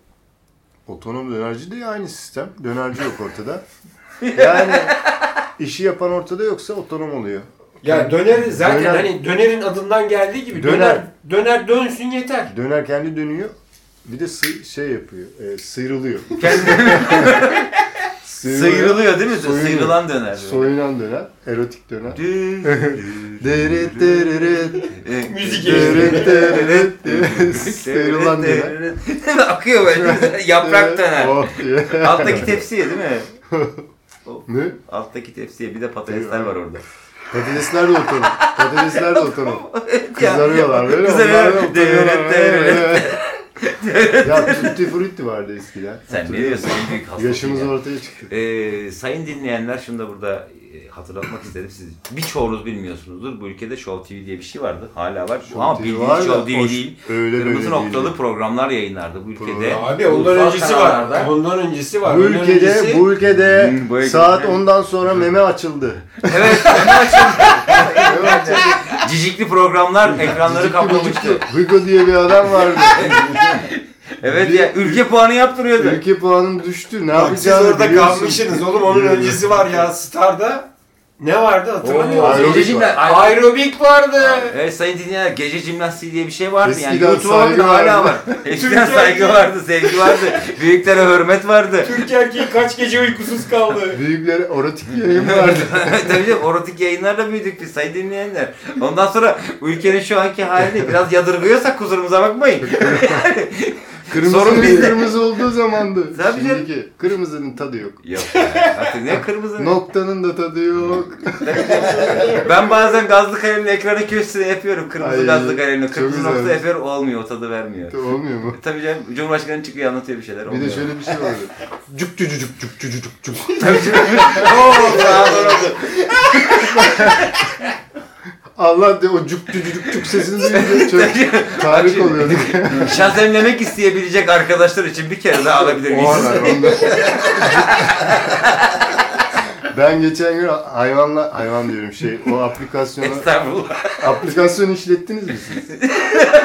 [SPEAKER 2] Otonom dönerci de aynı sistem. Dönerci yok ortada. Yani işi yapan ortada yoksa otonom oluyor.
[SPEAKER 3] Ya döner zaten
[SPEAKER 2] Döner-
[SPEAKER 3] hani dönerin adından geldiği gibi döner döner dönsün yeter.
[SPEAKER 2] Döner kendi dönüyor. Bir de sı- şey yapıyor. E, sıyrılıyor.
[SPEAKER 1] Sıyrılıyor değil mi?
[SPEAKER 2] Soyunuyor.
[SPEAKER 1] Sıyrılan döner.
[SPEAKER 2] Soyunan döner. Erotik döner.
[SPEAKER 1] Dü-
[SPEAKER 2] Deret deret.
[SPEAKER 3] Müzik
[SPEAKER 2] Deret deret. deret.
[SPEAKER 1] Sıyrılan
[SPEAKER 2] Sıyrılan döner.
[SPEAKER 1] döner. Akıyor böyle. Yaprak döner.
[SPEAKER 2] Oh diye.
[SPEAKER 1] Alttaki tepsiye değil mi?
[SPEAKER 2] Ne?
[SPEAKER 1] Alttaki tepsiye bir de patatesler var orada.
[SPEAKER 2] Patatesler de otonom. Patatesler de otonom. Kızarıyorlar böyle.
[SPEAKER 1] Kızarıyor.
[SPEAKER 2] onlar da oturuyorlar
[SPEAKER 1] Deret,
[SPEAKER 2] böyle.
[SPEAKER 1] deret.
[SPEAKER 2] ya tutti frutti vardı eskiden.
[SPEAKER 1] Sen ne diyorsun? En büyük hastalık
[SPEAKER 2] Yaşımız
[SPEAKER 1] ya.
[SPEAKER 2] ortaya çıktı.
[SPEAKER 1] Ee, sayın dinleyenler şunu da burada e, hatırlatmak istedim. Siz birçoğunuz bilmiyorsunuzdur. Bu ülkede Show TV diye bir şey vardı. Hala var.
[SPEAKER 2] Show
[SPEAKER 1] Ama
[SPEAKER 2] TV
[SPEAKER 1] bildiğin
[SPEAKER 2] var da
[SPEAKER 1] Show TV
[SPEAKER 2] hoş-
[SPEAKER 1] değil.
[SPEAKER 2] öyle
[SPEAKER 1] Kırmızı
[SPEAKER 2] böyle
[SPEAKER 1] noktalı
[SPEAKER 2] değil.
[SPEAKER 1] programlar yayınlardı bu ülkede.
[SPEAKER 2] Program.
[SPEAKER 3] Abi ondan
[SPEAKER 1] Ulusal
[SPEAKER 3] öncesi
[SPEAKER 1] kanallarda.
[SPEAKER 3] var. Ondan öncesi var.
[SPEAKER 2] Bu
[SPEAKER 3] Ondan
[SPEAKER 2] ülkede,
[SPEAKER 3] öncesi-
[SPEAKER 2] bu ülkede
[SPEAKER 1] Hmm, bu ülkede-
[SPEAKER 2] Ee, saat 10'dan sonra meme açıldı.
[SPEAKER 1] Evet. Cicikli programlar ekranları kaplamıştı.
[SPEAKER 2] Hugo diye bir adam vardı.
[SPEAKER 1] Evet ya ülke puanı yaptırıyordu.
[SPEAKER 2] Ülke puanın düştü. Ne
[SPEAKER 3] Bak siz
[SPEAKER 2] yapacağını
[SPEAKER 3] orada
[SPEAKER 2] biliyorsun.
[SPEAKER 3] kalmışsınız oğlum. Onun
[SPEAKER 2] Biliyorum.
[SPEAKER 3] öncesi var ya Star'da. Ne vardı hatırlamıyorum.
[SPEAKER 2] Oo, şey aerobik
[SPEAKER 1] Gece jimna-
[SPEAKER 3] Ay- Aerobik vardı.
[SPEAKER 1] Evet sayın dinleyenler gece jimnastiği diye bir şey vardı yani.
[SPEAKER 2] Eskiden
[SPEAKER 1] YouTube'a bakın
[SPEAKER 2] saygı
[SPEAKER 1] hala var.
[SPEAKER 2] vardı.
[SPEAKER 1] Eskiden saygı vardı, sevgi vardı. Büyüklere hürmet vardı.
[SPEAKER 3] Türk erkeği kaç gece uykusuz kaldı.
[SPEAKER 2] Büyükleri erotik yayın vardı.
[SPEAKER 1] Tabii canım erotik yayınlarla büyüdük biz sayın dinleyenler. Ondan sonra ülkenin şu anki halini biraz yadırgıyorsak kusurumuza bakmayın.
[SPEAKER 2] Kırmızı
[SPEAKER 1] Sorun bizde.
[SPEAKER 2] kırmızı olduğu zamandı.
[SPEAKER 1] Tabii canım.
[SPEAKER 2] Şimdiki kırmızının tadı yok.
[SPEAKER 1] Yok ya, artık ne kırmızı.
[SPEAKER 2] Noktanın da tadı yok.
[SPEAKER 1] Ben bazen gazlı kalemle ekranı köşesine yapıyorum. Kırmızı
[SPEAKER 2] Ay,
[SPEAKER 1] gazlı kalemle.
[SPEAKER 2] çok
[SPEAKER 1] Kırmızı nokta
[SPEAKER 2] güzelmiş.
[SPEAKER 1] yapıyorum olmuyor o tadı vermiyor.
[SPEAKER 2] Olmuyor mu?
[SPEAKER 1] Tabii canım Cumhurbaşkanı çıkıyor anlatıyor bir şeyler.
[SPEAKER 2] Bir
[SPEAKER 1] olmuyor.
[SPEAKER 2] de şöyle bir şey vardı. Cuk cuk cuk cuk cuk cuk cuk.
[SPEAKER 1] Tabii canım. Oo, daha doğru.
[SPEAKER 2] Allah de o cuk cuk cuk cuk sesini duyunca çok tarih oluyordu.
[SPEAKER 1] Şazemlemek isteyebilecek arkadaşlar için bir kere daha alabilir
[SPEAKER 2] O
[SPEAKER 1] miyiz?
[SPEAKER 2] aralar onda. Ben geçen gün hayvanla hayvan diyorum şey o aplikasyonu
[SPEAKER 1] Estağfurullah.
[SPEAKER 2] aplikasyon işlettiniz mi siz?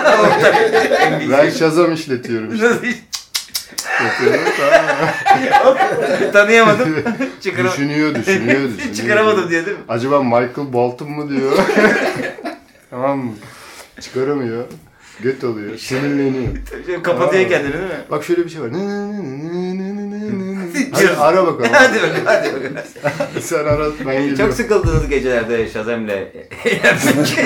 [SPEAKER 1] Tabii.
[SPEAKER 2] Ben Shazam işletiyorum.
[SPEAKER 1] Nasıl hiç-
[SPEAKER 2] diyorum. Tamam.
[SPEAKER 1] Tanıyamadım.
[SPEAKER 2] şey
[SPEAKER 1] Çıkara...
[SPEAKER 2] düşünüyor, düşünüyor, düşünüyor.
[SPEAKER 1] Çıkaramadım diye değil mi?
[SPEAKER 2] Acaba Michael Bolton mu diyor. tamam mı? Çıkaramıyor. Göt oluyor. Sinirleniyor.
[SPEAKER 1] Şöyle Kapatıyor kendini değil mi?
[SPEAKER 2] Bak şöyle bir şey var. Ne, ne, ne, ne, ne, ne, ne, ne, ne. Hadi
[SPEAKER 1] Diyorsun.
[SPEAKER 2] ara bakalım.
[SPEAKER 1] hadi bakalım, hadi bakalım.
[SPEAKER 2] Sen ara ben geliyorum.
[SPEAKER 1] Çok sıkıldığınız gecelerde Şazem'le eğlenmek.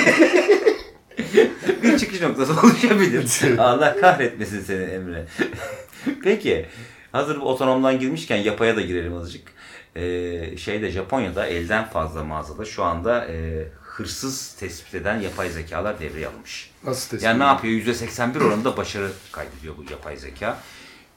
[SPEAKER 1] bir çıkış noktası oluşabilir. Allah kahretmesin seni Emre. Peki, hazır bu otonomdan girmişken yapaya da girelim azıcık. Ee, şeyde Japonya'da elden fazla mağazada şu anda e, hırsız tespit eden yapay zekalar devreye alınmış.
[SPEAKER 2] Nasıl tespit?
[SPEAKER 1] Yani ne yapıyor? %81 oranında başarı kaydediyor bu yapay zeka.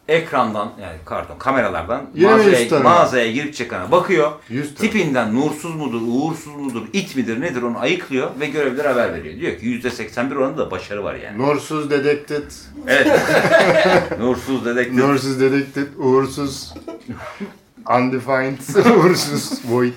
[SPEAKER 1] Ekrandan yani pardon kameralardan
[SPEAKER 2] Yine mi yüz
[SPEAKER 1] mağazaya,
[SPEAKER 2] tane?
[SPEAKER 1] mağazaya girip çıkana bakıyor.
[SPEAKER 2] Yüz tane.
[SPEAKER 1] Tipinden nursuz mudur, uğursuz mudur, it midir nedir onu ayıklıyor ve görevlilere haber veriyor. Diyor ki %81 oranında da başarı var yani.
[SPEAKER 2] Norsuz dedektit.
[SPEAKER 1] Evet. nursuz dedektif.
[SPEAKER 2] Norsuz dedektit. Uğursuz. Undefined. Uğursuz. Void.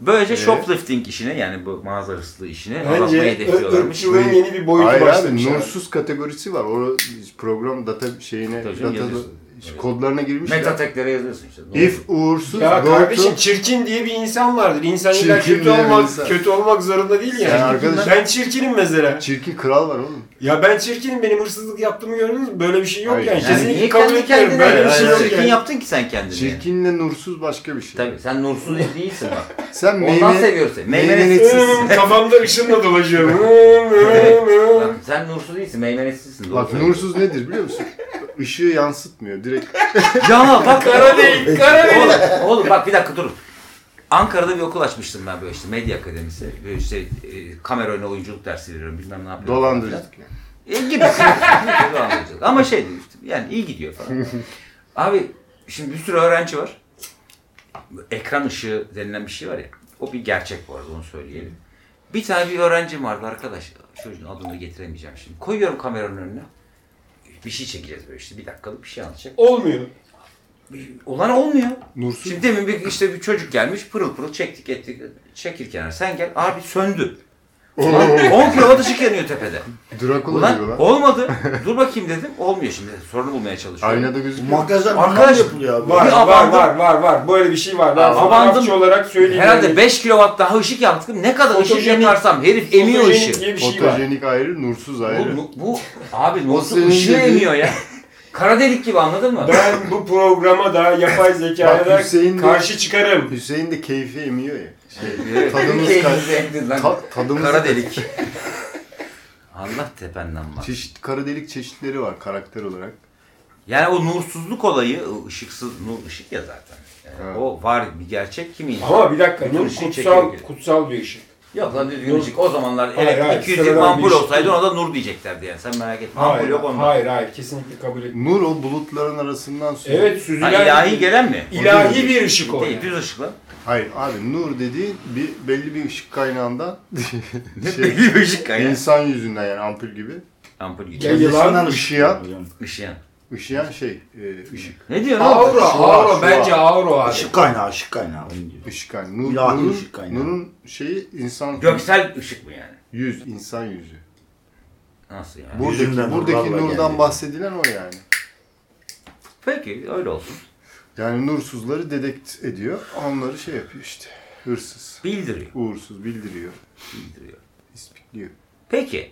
[SPEAKER 1] Böylece shoplifting işine yani bu mağaza hırsızlığı işine
[SPEAKER 3] Bence
[SPEAKER 1] azaltmayı
[SPEAKER 3] ö-
[SPEAKER 1] hedefliyorlarmış.
[SPEAKER 3] ırkçılığın yeni bir boyutu
[SPEAKER 2] Hayır abi
[SPEAKER 3] başlamış. abi.
[SPEAKER 2] nursuz kategorisi var. O program data şeyine
[SPEAKER 1] Tabii canım,
[SPEAKER 2] data
[SPEAKER 1] yazıyorsun. Evet.
[SPEAKER 2] kodlarına girmiş. ya.
[SPEAKER 1] Metateklere yazıyorsun işte. Ne
[SPEAKER 2] If uğursuz
[SPEAKER 3] Ya
[SPEAKER 2] go to-
[SPEAKER 3] kardeşim çirkin diye bir insan vardır. İnsan illa
[SPEAKER 2] Çirkin
[SPEAKER 3] kötü
[SPEAKER 2] diye bir
[SPEAKER 3] olmak
[SPEAKER 2] insan.
[SPEAKER 3] kötü olmak zorunda değil yani.
[SPEAKER 2] Yani arkadaş-
[SPEAKER 3] Ben çirkinim mesela.
[SPEAKER 2] Çirkin kral var oğlum.
[SPEAKER 3] Ya ben çirkinim benim hırsızlık yaptığımı gördünüz mü? Böyle bir şey yok
[SPEAKER 2] Hayır.
[SPEAKER 3] yani.
[SPEAKER 2] Yani
[SPEAKER 1] Yani
[SPEAKER 3] Kesinlikle
[SPEAKER 1] niye
[SPEAKER 3] kabul
[SPEAKER 1] kendi
[SPEAKER 3] etmiyorum.
[SPEAKER 1] kendine
[SPEAKER 3] Böyle bir şey yok
[SPEAKER 1] çirkin
[SPEAKER 3] yani.
[SPEAKER 1] yaptın ki sen kendini?
[SPEAKER 2] Çirkinle nursuz başka bir şey.
[SPEAKER 1] Tabii sen nursuz değilsin bak.
[SPEAKER 2] Sen
[SPEAKER 1] Ondan
[SPEAKER 2] meyve...
[SPEAKER 1] seviyorsun. seni. Meymenetsiz.
[SPEAKER 3] Hmm, Kafamda ışınla dolaşıyor. Hmm, hmm, hmm.
[SPEAKER 1] Bak, sen nursuz değilsin, meymenetsizsin.
[SPEAKER 2] Bak nursuz nedir biliyor musun? Işığı yansıtmıyor direkt.
[SPEAKER 1] Ya bak
[SPEAKER 3] kara değil, kara değil.
[SPEAKER 1] Oğlum, oğlum bak bir dakika durun. Ankara'da bir okul açmıştım ben böyle işte medya akademisi. Böyle işte e, kamera önüne oyunculuk dersi veriyorum bilmem ne yapıyorum.
[SPEAKER 2] Dolandırıcılık. yani.
[SPEAKER 1] E, gibisi. Dolandırıcılık. Ama şey değil işte, yani iyi gidiyor falan. Abi şimdi bir sürü öğrenci var. Ekran ışığı denilen bir şey var ya. O bir gerçek bu arada onu söyleyelim. Bir tane bir öğrencim vardı arkadaş. Çocuğun adını getiremeyeceğim şimdi. Koyuyorum kameranın önüne. Bir şey çekeceğiz böyle işte. Bir dakikalık bir şey anlatacak.
[SPEAKER 3] Olmuyor.
[SPEAKER 1] Olan olmuyor.
[SPEAKER 2] Nursuz.
[SPEAKER 1] Şimdi demin bir işte bir çocuk gelmiş pırıl pırıl çektik ettik çekil kenara sen gel abi söndü. Ulan 10 kilo ateşi yanıyor tepede.
[SPEAKER 2] Drakula gibi
[SPEAKER 1] Ulan
[SPEAKER 2] lan.
[SPEAKER 1] olmadı dur bakayım dedim olmuyor şimdi sorunu bulmaya çalışıyorum.
[SPEAKER 2] Aynada gözüküyor.
[SPEAKER 4] Makyajlar
[SPEAKER 1] Arkadaş-
[SPEAKER 4] Arkadaş, yapılıyor abi.
[SPEAKER 3] Var,
[SPEAKER 1] Bir
[SPEAKER 3] var,
[SPEAKER 1] abandım.
[SPEAKER 3] var, var, var. Böyle bir şey var. Ben
[SPEAKER 1] Aa, abandım.
[SPEAKER 3] fotoğrafçı olarak söyleyeyim.
[SPEAKER 1] Herhalde 5 kilowatt daha ışık yaktım ne kadar ışık
[SPEAKER 3] Fotojenik-
[SPEAKER 1] yakarsam herif emiyor
[SPEAKER 3] Fotojenik
[SPEAKER 1] ışığı.
[SPEAKER 3] diye bir şey var.
[SPEAKER 2] Fotojenik ayrı, nursuz ayrı.
[SPEAKER 1] Bu, bu, abi
[SPEAKER 2] O
[SPEAKER 1] nasıl
[SPEAKER 2] senin
[SPEAKER 1] ışığı
[SPEAKER 2] dediğin-
[SPEAKER 1] emiyor ya. Kara delik gibi anladın mı?
[SPEAKER 3] Ben bu programa da yapay zekaya
[SPEAKER 2] Bak,
[SPEAKER 3] da
[SPEAKER 2] Hüseyin de-
[SPEAKER 3] karşı çıkarım.
[SPEAKER 2] Hüseyin de keyfi emiyor ya.
[SPEAKER 1] Evet.
[SPEAKER 2] Tadımız
[SPEAKER 1] Keyfimizi
[SPEAKER 2] kaç-
[SPEAKER 1] emdin lan.
[SPEAKER 2] Ta- tadımız
[SPEAKER 1] Kara
[SPEAKER 2] kaç-
[SPEAKER 1] delik. Allah tependen bak.
[SPEAKER 2] Çeşit, kara delik çeşitleri var karakter olarak.
[SPEAKER 1] Yani o nursuzluk olayı, o ışıksız, nur ışık ya zaten. Yani
[SPEAKER 2] Evet.
[SPEAKER 1] O var bir gerçek kimi insan.
[SPEAKER 3] Ama bir dakika,
[SPEAKER 1] Bütün
[SPEAKER 3] nur
[SPEAKER 1] ışığı çekiyor
[SPEAKER 3] kutsal,
[SPEAKER 1] gibi.
[SPEAKER 3] kutsal bir ışık.
[SPEAKER 1] Yok lan düzgün
[SPEAKER 3] Nur-
[SPEAKER 1] ışık. O zamanlar
[SPEAKER 3] Hayır,
[SPEAKER 1] evet,
[SPEAKER 3] hayır,
[SPEAKER 1] 200 yıl
[SPEAKER 3] sıradan bir
[SPEAKER 1] ampul
[SPEAKER 3] ışık
[SPEAKER 1] olsaydı
[SPEAKER 3] değil.
[SPEAKER 1] ona da nur diyeceklerdi yani. Sen merak etme. ampul
[SPEAKER 3] Hayır,
[SPEAKER 1] yok onda.
[SPEAKER 3] hayır, hayır. Kesinlikle kabul etmiyorum.
[SPEAKER 2] Nur o bulutların arasından süzülen...
[SPEAKER 3] Evet,
[SPEAKER 1] Ha,
[SPEAKER 3] süzülen...
[SPEAKER 1] ilahi gelen mi?
[SPEAKER 3] ilahi bir ışık o.
[SPEAKER 1] Değil,
[SPEAKER 3] yani.
[SPEAKER 1] düz ışık lan.
[SPEAKER 2] Hayır abi nur dediğin bir, belli bir ışık kaynağından şey,
[SPEAKER 1] Belli bir ışık kaynağı.
[SPEAKER 2] insan yüzünden yani ampul gibi.
[SPEAKER 1] Ampul gibi.
[SPEAKER 3] Gel- Yılan-
[SPEAKER 4] Şey
[SPEAKER 2] ışıyan,
[SPEAKER 1] Işıyan.
[SPEAKER 2] Işıyan şey, e, ışık.
[SPEAKER 1] Ne diyorsun oğlum?
[SPEAKER 3] Avro,
[SPEAKER 2] Şu var, şu
[SPEAKER 3] avro. Bence avro abi.
[SPEAKER 4] Işık kaynağı, ışık kaynağı. onu diyor.
[SPEAKER 2] Işık kaynağı. Nur,
[SPEAKER 4] İlahi
[SPEAKER 2] nurun,
[SPEAKER 4] ışık kaynağı.
[SPEAKER 2] nurun şeyi insan
[SPEAKER 1] Göksel ışık mı yani?
[SPEAKER 2] yüz, insan yüzü.
[SPEAKER 1] Nasıl yani?
[SPEAKER 2] Buradaki,
[SPEAKER 4] Yüzünden
[SPEAKER 2] buradaki
[SPEAKER 4] nurlarla
[SPEAKER 2] nurdan
[SPEAKER 4] geldi.
[SPEAKER 2] bahsedilen o yani.
[SPEAKER 1] Peki öyle olsun.
[SPEAKER 2] Yani nursuzları dedekt ediyor, onları şey yapıyor işte. Hırsız,
[SPEAKER 1] Bildiriyor.
[SPEAKER 2] uğursuz bildiriyor,
[SPEAKER 1] Bildiriyor.
[SPEAKER 2] ispikliyor.
[SPEAKER 1] Peki.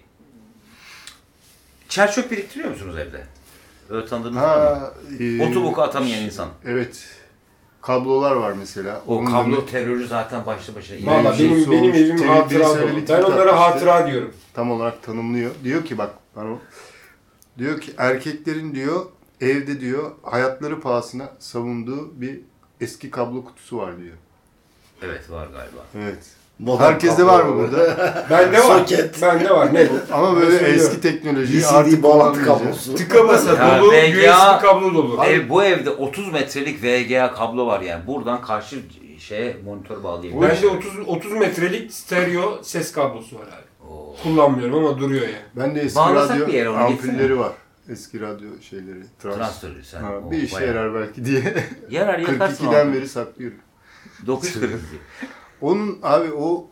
[SPEAKER 1] Çerçöp biriktiriyor musunuz evde? Öyle tanıdığınız var mı?
[SPEAKER 2] Ha, e,
[SPEAKER 1] Otoboku atamayan insan.
[SPEAKER 2] Evet. Kablolar var mesela.
[SPEAKER 1] O
[SPEAKER 2] Onun
[SPEAKER 1] kablo
[SPEAKER 2] da-
[SPEAKER 1] terörü zaten başlı başına.
[SPEAKER 3] Valla
[SPEAKER 2] Mevzusu
[SPEAKER 3] benim, benim
[SPEAKER 2] olmuş.
[SPEAKER 3] evim
[SPEAKER 2] Tweet
[SPEAKER 3] hatıra
[SPEAKER 2] birisi öyle bir
[SPEAKER 3] dolu. Ben
[SPEAKER 2] tweet
[SPEAKER 3] onlara
[SPEAKER 2] atmıştı.
[SPEAKER 3] hatıra diyorum.
[SPEAKER 2] tam olarak tanımlıyor. Diyor ki bak ben o- diyor ki erkeklerin diyor evde diyor hayatları pahasına savunduğu bir eski kablo kutusu var diyor.
[SPEAKER 1] Evet var galiba.
[SPEAKER 2] Evet.
[SPEAKER 4] Modern
[SPEAKER 2] Herkeste
[SPEAKER 4] kablo.
[SPEAKER 2] var mı burada?
[SPEAKER 3] Bende var.
[SPEAKER 4] Soket.
[SPEAKER 3] Bende var. Ne?
[SPEAKER 2] Ama böyle
[SPEAKER 3] Ben söylüyorum.
[SPEAKER 2] eski teknoloji artık
[SPEAKER 4] VCD bağlantı
[SPEAKER 2] kullanmayacağız.
[SPEAKER 4] kablosu.
[SPEAKER 3] Tıka basa
[SPEAKER 1] Ya
[SPEAKER 3] dolu,
[SPEAKER 1] VGA
[SPEAKER 3] USB kablo dolu.
[SPEAKER 1] Ev, bu evde 30 metrelik VGA kablo var yani. Buradan karşı şeye monitör bağlayayım.
[SPEAKER 3] Bende 30, 30 metrelik stereo ses kablosu var abi.
[SPEAKER 1] Oo.
[SPEAKER 3] Kullanmıyorum ama duruyor yani.
[SPEAKER 2] Ben de eski
[SPEAKER 1] Bağlasak bir yere
[SPEAKER 2] radyo
[SPEAKER 1] onu,
[SPEAKER 2] ampulleri
[SPEAKER 1] gitsene.
[SPEAKER 2] var. Eski radyo şeyleri. Trans.
[SPEAKER 1] Transistörü sen.
[SPEAKER 2] Ha,
[SPEAKER 1] Oo,
[SPEAKER 2] bir işe
[SPEAKER 1] bayağı.
[SPEAKER 2] yarar belki diye.
[SPEAKER 1] Yarar yakarsın.
[SPEAKER 2] 42'den beri saklıyorum.
[SPEAKER 1] 940.
[SPEAKER 2] Onun abi o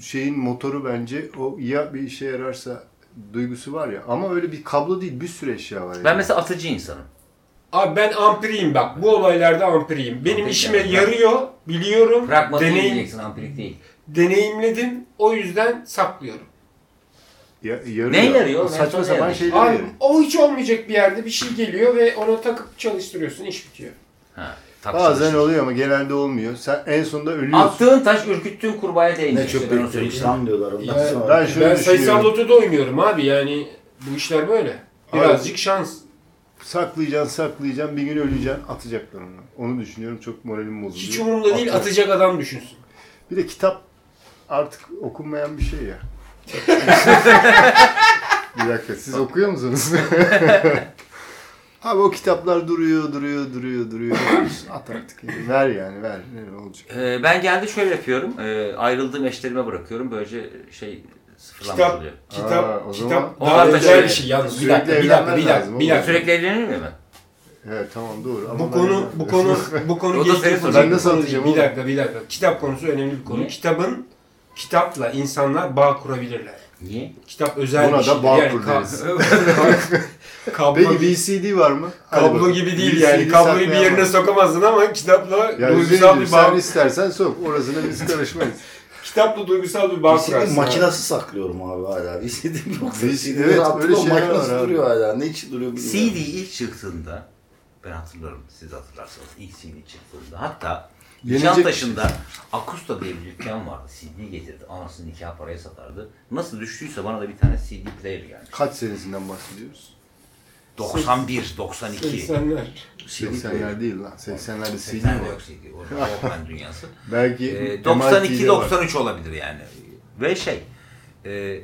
[SPEAKER 2] şeyin motoru bence o ya bir işe yararsa duygusu var ya. Ama öyle bir kablo değil bir sürü eşya var. Yani.
[SPEAKER 1] Ben mesela atıcı insanım.
[SPEAKER 3] Abi ben ampiriyim bak. Bu olaylarda ampiriyim. Benim
[SPEAKER 1] Peki,
[SPEAKER 3] işime
[SPEAKER 1] yani.
[SPEAKER 3] yarıyor. Biliyorum.
[SPEAKER 1] Pragmatik
[SPEAKER 3] Deneyim,
[SPEAKER 1] diyeceksin ampirik değil.
[SPEAKER 3] deneyimledim. O yüzden saklıyorum.
[SPEAKER 2] Ya- yarıyor.
[SPEAKER 1] Ne yarıyor? Ben
[SPEAKER 2] Saçma
[SPEAKER 1] sonra
[SPEAKER 2] sapan
[SPEAKER 1] yarıyor.
[SPEAKER 2] şeyler
[SPEAKER 3] Abi
[SPEAKER 2] yarıyor.
[SPEAKER 3] o hiç olmayacak bir yerde bir şey geliyor ve ona takıp çalıştırıyorsun. iş bitiyor.
[SPEAKER 1] Ha, taksi
[SPEAKER 2] Bazen
[SPEAKER 1] işte.
[SPEAKER 2] oluyor ama genelde olmuyor. Sen en sonunda ölüyorsun.
[SPEAKER 1] Attığın taş ürküttüğün kurbağaya
[SPEAKER 4] Ne
[SPEAKER 1] değmeyecek.
[SPEAKER 4] çöp
[SPEAKER 1] Ben onu
[SPEAKER 4] bekliyormuş
[SPEAKER 1] söyleyeyim.
[SPEAKER 4] lan diyorlar ondan
[SPEAKER 3] Ya,
[SPEAKER 4] sonra.
[SPEAKER 2] ben şöyle
[SPEAKER 3] ben sayısal
[SPEAKER 2] düşünüyorum.
[SPEAKER 3] lotoda oynuyorum abi. Yani bu işler böyle. Birazcık şans.
[SPEAKER 2] Saklayacaksın saklayacaksın bir gün öleceksin atacaklar onu. Onu düşünüyorum çok moralim bozuluyor.
[SPEAKER 3] Hiç umurumda değil
[SPEAKER 2] Atıyorum.
[SPEAKER 3] atacak adam düşünsün.
[SPEAKER 2] Bir de kitap artık okunmayan bir şey ya. bir dakika siz okuyor musunuz? Abi o kitaplar duruyor, duruyor, duruyor, duruyor. At artık. yani. Ver yani ver. Ne olacak?
[SPEAKER 1] Ee, ben geldi şöyle yapıyorum. Ee, ayrıldığım eşlerime bırakıyorum. Böylece şey sıfırlanmış
[SPEAKER 3] Kitap,
[SPEAKER 1] oluyor.
[SPEAKER 3] kitap,
[SPEAKER 2] Aa, o zaman-
[SPEAKER 3] kitap daha
[SPEAKER 1] O
[SPEAKER 3] özel
[SPEAKER 1] arkadaşlar-
[SPEAKER 3] bir şey. Yalnız bir
[SPEAKER 2] Sürekli
[SPEAKER 3] dakika, bir dakika, bir
[SPEAKER 2] evlenmen
[SPEAKER 3] dakika,
[SPEAKER 2] lazım
[SPEAKER 3] bir
[SPEAKER 2] oğlum.
[SPEAKER 3] dakika.
[SPEAKER 1] Sürekli evlenilmiyor mu?
[SPEAKER 2] Evet tamam doğru. Ama
[SPEAKER 3] Bu
[SPEAKER 2] ben-
[SPEAKER 3] konu, bu konu, bu
[SPEAKER 1] O da
[SPEAKER 3] konu geçti.
[SPEAKER 1] senin sorun.
[SPEAKER 2] Ben nasıl atacağım
[SPEAKER 3] Bir
[SPEAKER 2] oğlum?
[SPEAKER 3] dakika, bir dakika. Kitap konusu önemli bir konu.
[SPEAKER 1] Niye?
[SPEAKER 3] Kitabın, kitapla insanlar bağ kurabilirler.
[SPEAKER 1] Niye?
[SPEAKER 3] Kitap özel
[SPEAKER 2] Buna
[SPEAKER 3] bir
[SPEAKER 2] da
[SPEAKER 3] şeydir.
[SPEAKER 2] bağ
[SPEAKER 3] Yani
[SPEAKER 2] kur
[SPEAKER 3] ka-
[SPEAKER 2] deriz.
[SPEAKER 3] ka- kablo,
[SPEAKER 2] Peki VCD var mı? Hadi
[SPEAKER 3] kablo
[SPEAKER 2] bakalım.
[SPEAKER 3] gibi değil
[SPEAKER 2] VCD
[SPEAKER 3] yani. Kabloyu bir
[SPEAKER 2] saklayan
[SPEAKER 3] yerine
[SPEAKER 2] var.
[SPEAKER 3] sokamazsın ama kitapla
[SPEAKER 2] Ya
[SPEAKER 3] duygusal
[SPEAKER 2] Hüseyin'cim
[SPEAKER 3] bir bağ,
[SPEAKER 2] sen istersen sok. Orasına biz karışmayız.
[SPEAKER 3] kitapla duygusal bir bağ
[SPEAKER 4] VCD
[SPEAKER 3] kurarsın.
[SPEAKER 4] makinası saklıyorum abi hala. VCD yok.
[SPEAKER 2] Evet,
[SPEAKER 4] VCD
[SPEAKER 2] öyle
[SPEAKER 4] attım, o
[SPEAKER 2] şeyler
[SPEAKER 4] makinası
[SPEAKER 2] var abi.
[SPEAKER 4] duruyor hala. Ne için duruyor
[SPEAKER 1] CD
[SPEAKER 4] bilmiyorum.
[SPEAKER 1] ilk çıktığında ben hatırlarım siz hatırlarsanız ilk CD çıktığında hatta
[SPEAKER 2] Yenilecek şey.
[SPEAKER 1] Nişantaşı'nda Akusta diye bir dükkan vardı. CD getirdi. Anasını nikah paraya satardı. Nasıl düştüyse bana da bir tane CD player gelmiş.
[SPEAKER 2] Kaç senesinden bahsediyoruz?
[SPEAKER 1] 91, 92.
[SPEAKER 3] 80'ler. Şey
[SPEAKER 2] 80'ler değil lan. 80'lerde CD
[SPEAKER 1] 80'de yok
[SPEAKER 2] var.
[SPEAKER 1] CD. Orada Walkman dünyası.
[SPEAKER 2] Belki
[SPEAKER 1] Ee,
[SPEAKER 2] MIT'de var.
[SPEAKER 1] 92-93 olabilir yani. Ve şey, e,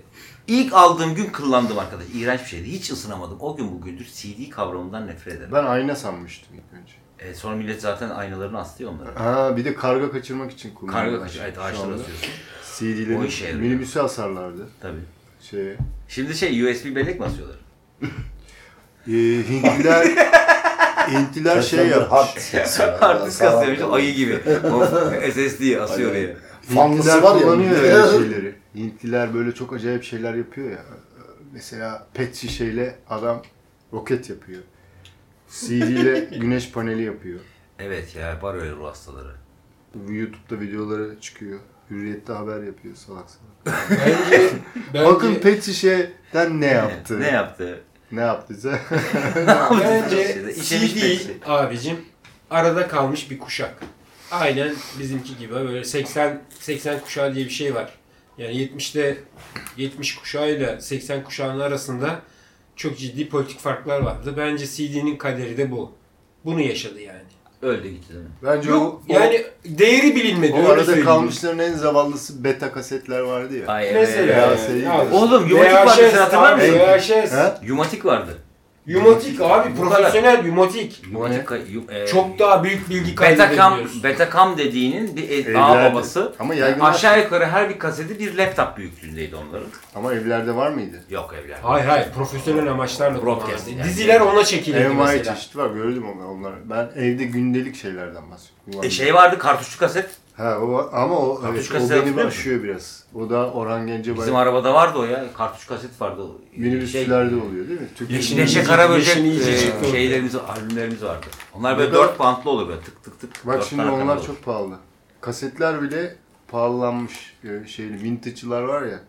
[SPEAKER 1] ilk aldığım gün kıllandım arkadaş. İğrenç bir şeydi. Hiç ısınamadım. O gün bugündür CD kavramından nefret ederim.
[SPEAKER 2] Ben ayna sanmıştım ilk önce.
[SPEAKER 1] E, sonra millet zaten aynalarını astıyor onları.
[SPEAKER 2] Ha bir de karga kaçırmak için kullanıyorlar.
[SPEAKER 1] Karga kaçıyor. Evet ağaçlara asıyorsun. O işe
[SPEAKER 2] CD'lerin
[SPEAKER 1] yarıyor.
[SPEAKER 2] minibüsü asarlardı.
[SPEAKER 1] Tabii.
[SPEAKER 2] Şeye.
[SPEAKER 1] Şimdi şey USB bellek mi asıyorlar?
[SPEAKER 2] Ee, Hintliler Hintliler şey
[SPEAKER 4] Taşlandır hard
[SPEAKER 2] yapmış.
[SPEAKER 4] disk
[SPEAKER 1] Hard disk
[SPEAKER 4] Tamam.
[SPEAKER 1] asıyor. işte ayı gibi. SSD asıyor
[SPEAKER 4] Aynen.
[SPEAKER 1] oraya.
[SPEAKER 4] Fanlısı
[SPEAKER 2] Hintliler
[SPEAKER 4] var ya.
[SPEAKER 2] kullanıyor ya şeyleri. Hintliler böyle çok acayip şeyler yapıyor ya. Mesela pet şişeyle adam roket yapıyor. CD ile güneş paneli yapıyor.
[SPEAKER 1] Evet ya var öyle ruh hastaları.
[SPEAKER 2] YouTube'da videoları çıkıyor. Hürriyette haber yapıyor salak salak.
[SPEAKER 3] Bence, bence,
[SPEAKER 2] Bakın pet şişeden ne yaptı?
[SPEAKER 1] ne yaptı?
[SPEAKER 2] Ne yaptıysa.
[SPEAKER 3] Bence
[SPEAKER 1] İçemiş Pepsi.
[SPEAKER 3] CD abicim arada kalmış bir kuşak. Aynen bizimki gibi böyle 80 80 kuşağı diye bir şey var. Yani 70'te 70 kuşağıyla 80 kuşağının arasında çok ciddi politik farklar vardı. Bence CD'nin kaderi de bu. Bunu yaşadı yani.
[SPEAKER 1] Öldü gitti değil mi?
[SPEAKER 2] Bence
[SPEAKER 3] Yok
[SPEAKER 2] o, o-
[SPEAKER 3] yani değeri bilinmedi.
[SPEAKER 2] O
[SPEAKER 3] öyle
[SPEAKER 2] arada
[SPEAKER 3] söyleyeyim.
[SPEAKER 2] kalmışların en zavallısı beta kasetler vardı ya.
[SPEAKER 1] Ay,
[SPEAKER 3] Mesela
[SPEAKER 1] evet.
[SPEAKER 2] Ya,
[SPEAKER 3] yani,
[SPEAKER 2] seri-
[SPEAKER 3] abi.
[SPEAKER 1] Oğlum yumatik vardı
[SPEAKER 3] VHS
[SPEAKER 1] sen hatırlar
[SPEAKER 3] abi,
[SPEAKER 1] mısın?
[SPEAKER 3] VHS.
[SPEAKER 2] He?
[SPEAKER 1] Yumatik vardı.
[SPEAKER 3] Yumatik abi
[SPEAKER 1] Bu kadar.
[SPEAKER 3] profesyonel yumatik.
[SPEAKER 1] Yumatik, kay- yu- e,
[SPEAKER 3] Çok daha büyük bilgi
[SPEAKER 1] Betacam,
[SPEAKER 3] kaybedebiliyorsun.
[SPEAKER 1] Betacam dediğinin bir e- ağ
[SPEAKER 2] Evlerde.
[SPEAKER 1] babası.
[SPEAKER 2] Ama
[SPEAKER 1] Yani
[SPEAKER 2] yaygın
[SPEAKER 1] aşağı yukarı her bir kaseti bir laptop büyüklüğündeydi onların.
[SPEAKER 2] Ama evlerde var mıydı?
[SPEAKER 1] Yok evler.
[SPEAKER 3] Hayır hayır profesyonel amaçlarla
[SPEAKER 1] Broadcast
[SPEAKER 3] kullanıldı.
[SPEAKER 1] yani.
[SPEAKER 3] Diziler ona çekilirdi
[SPEAKER 2] envai
[SPEAKER 3] mesela.
[SPEAKER 2] çeşit var gördüm onları. onları. Ben evde gündelik şeylerden bahsediyorum.
[SPEAKER 1] E şey vardı kartuşlu kaset.
[SPEAKER 2] Ha o ama o
[SPEAKER 1] Kartuş
[SPEAKER 2] evet, o
[SPEAKER 1] kaseti
[SPEAKER 2] beni
[SPEAKER 1] hatırlıyor
[SPEAKER 2] başlıyor biraz. O da Orhan Gencebay
[SPEAKER 1] Bizim arabada vardı o ya. Kartuş kaset vardı. Şey,
[SPEAKER 2] minibüslerde oluyor değil mi? Türk
[SPEAKER 1] Yeşil
[SPEAKER 3] Yeşil
[SPEAKER 1] Neşe
[SPEAKER 3] İyice-
[SPEAKER 1] Karaböcek
[SPEAKER 3] Yeşil İyice
[SPEAKER 1] e,
[SPEAKER 3] çıktı ortaya.
[SPEAKER 1] şeylerimiz, albümlerimiz vardı. Onlar böyle
[SPEAKER 2] Ne kadar-
[SPEAKER 1] dört bantlı olur böyle tık tık tık.
[SPEAKER 2] Bak
[SPEAKER 1] dört
[SPEAKER 2] şimdi
[SPEAKER 1] tane kanal
[SPEAKER 2] onlar
[SPEAKER 1] olur.
[SPEAKER 2] çok pahalı. Kasetler bile pahalanmış e, şeyli vintage'çılar var ya.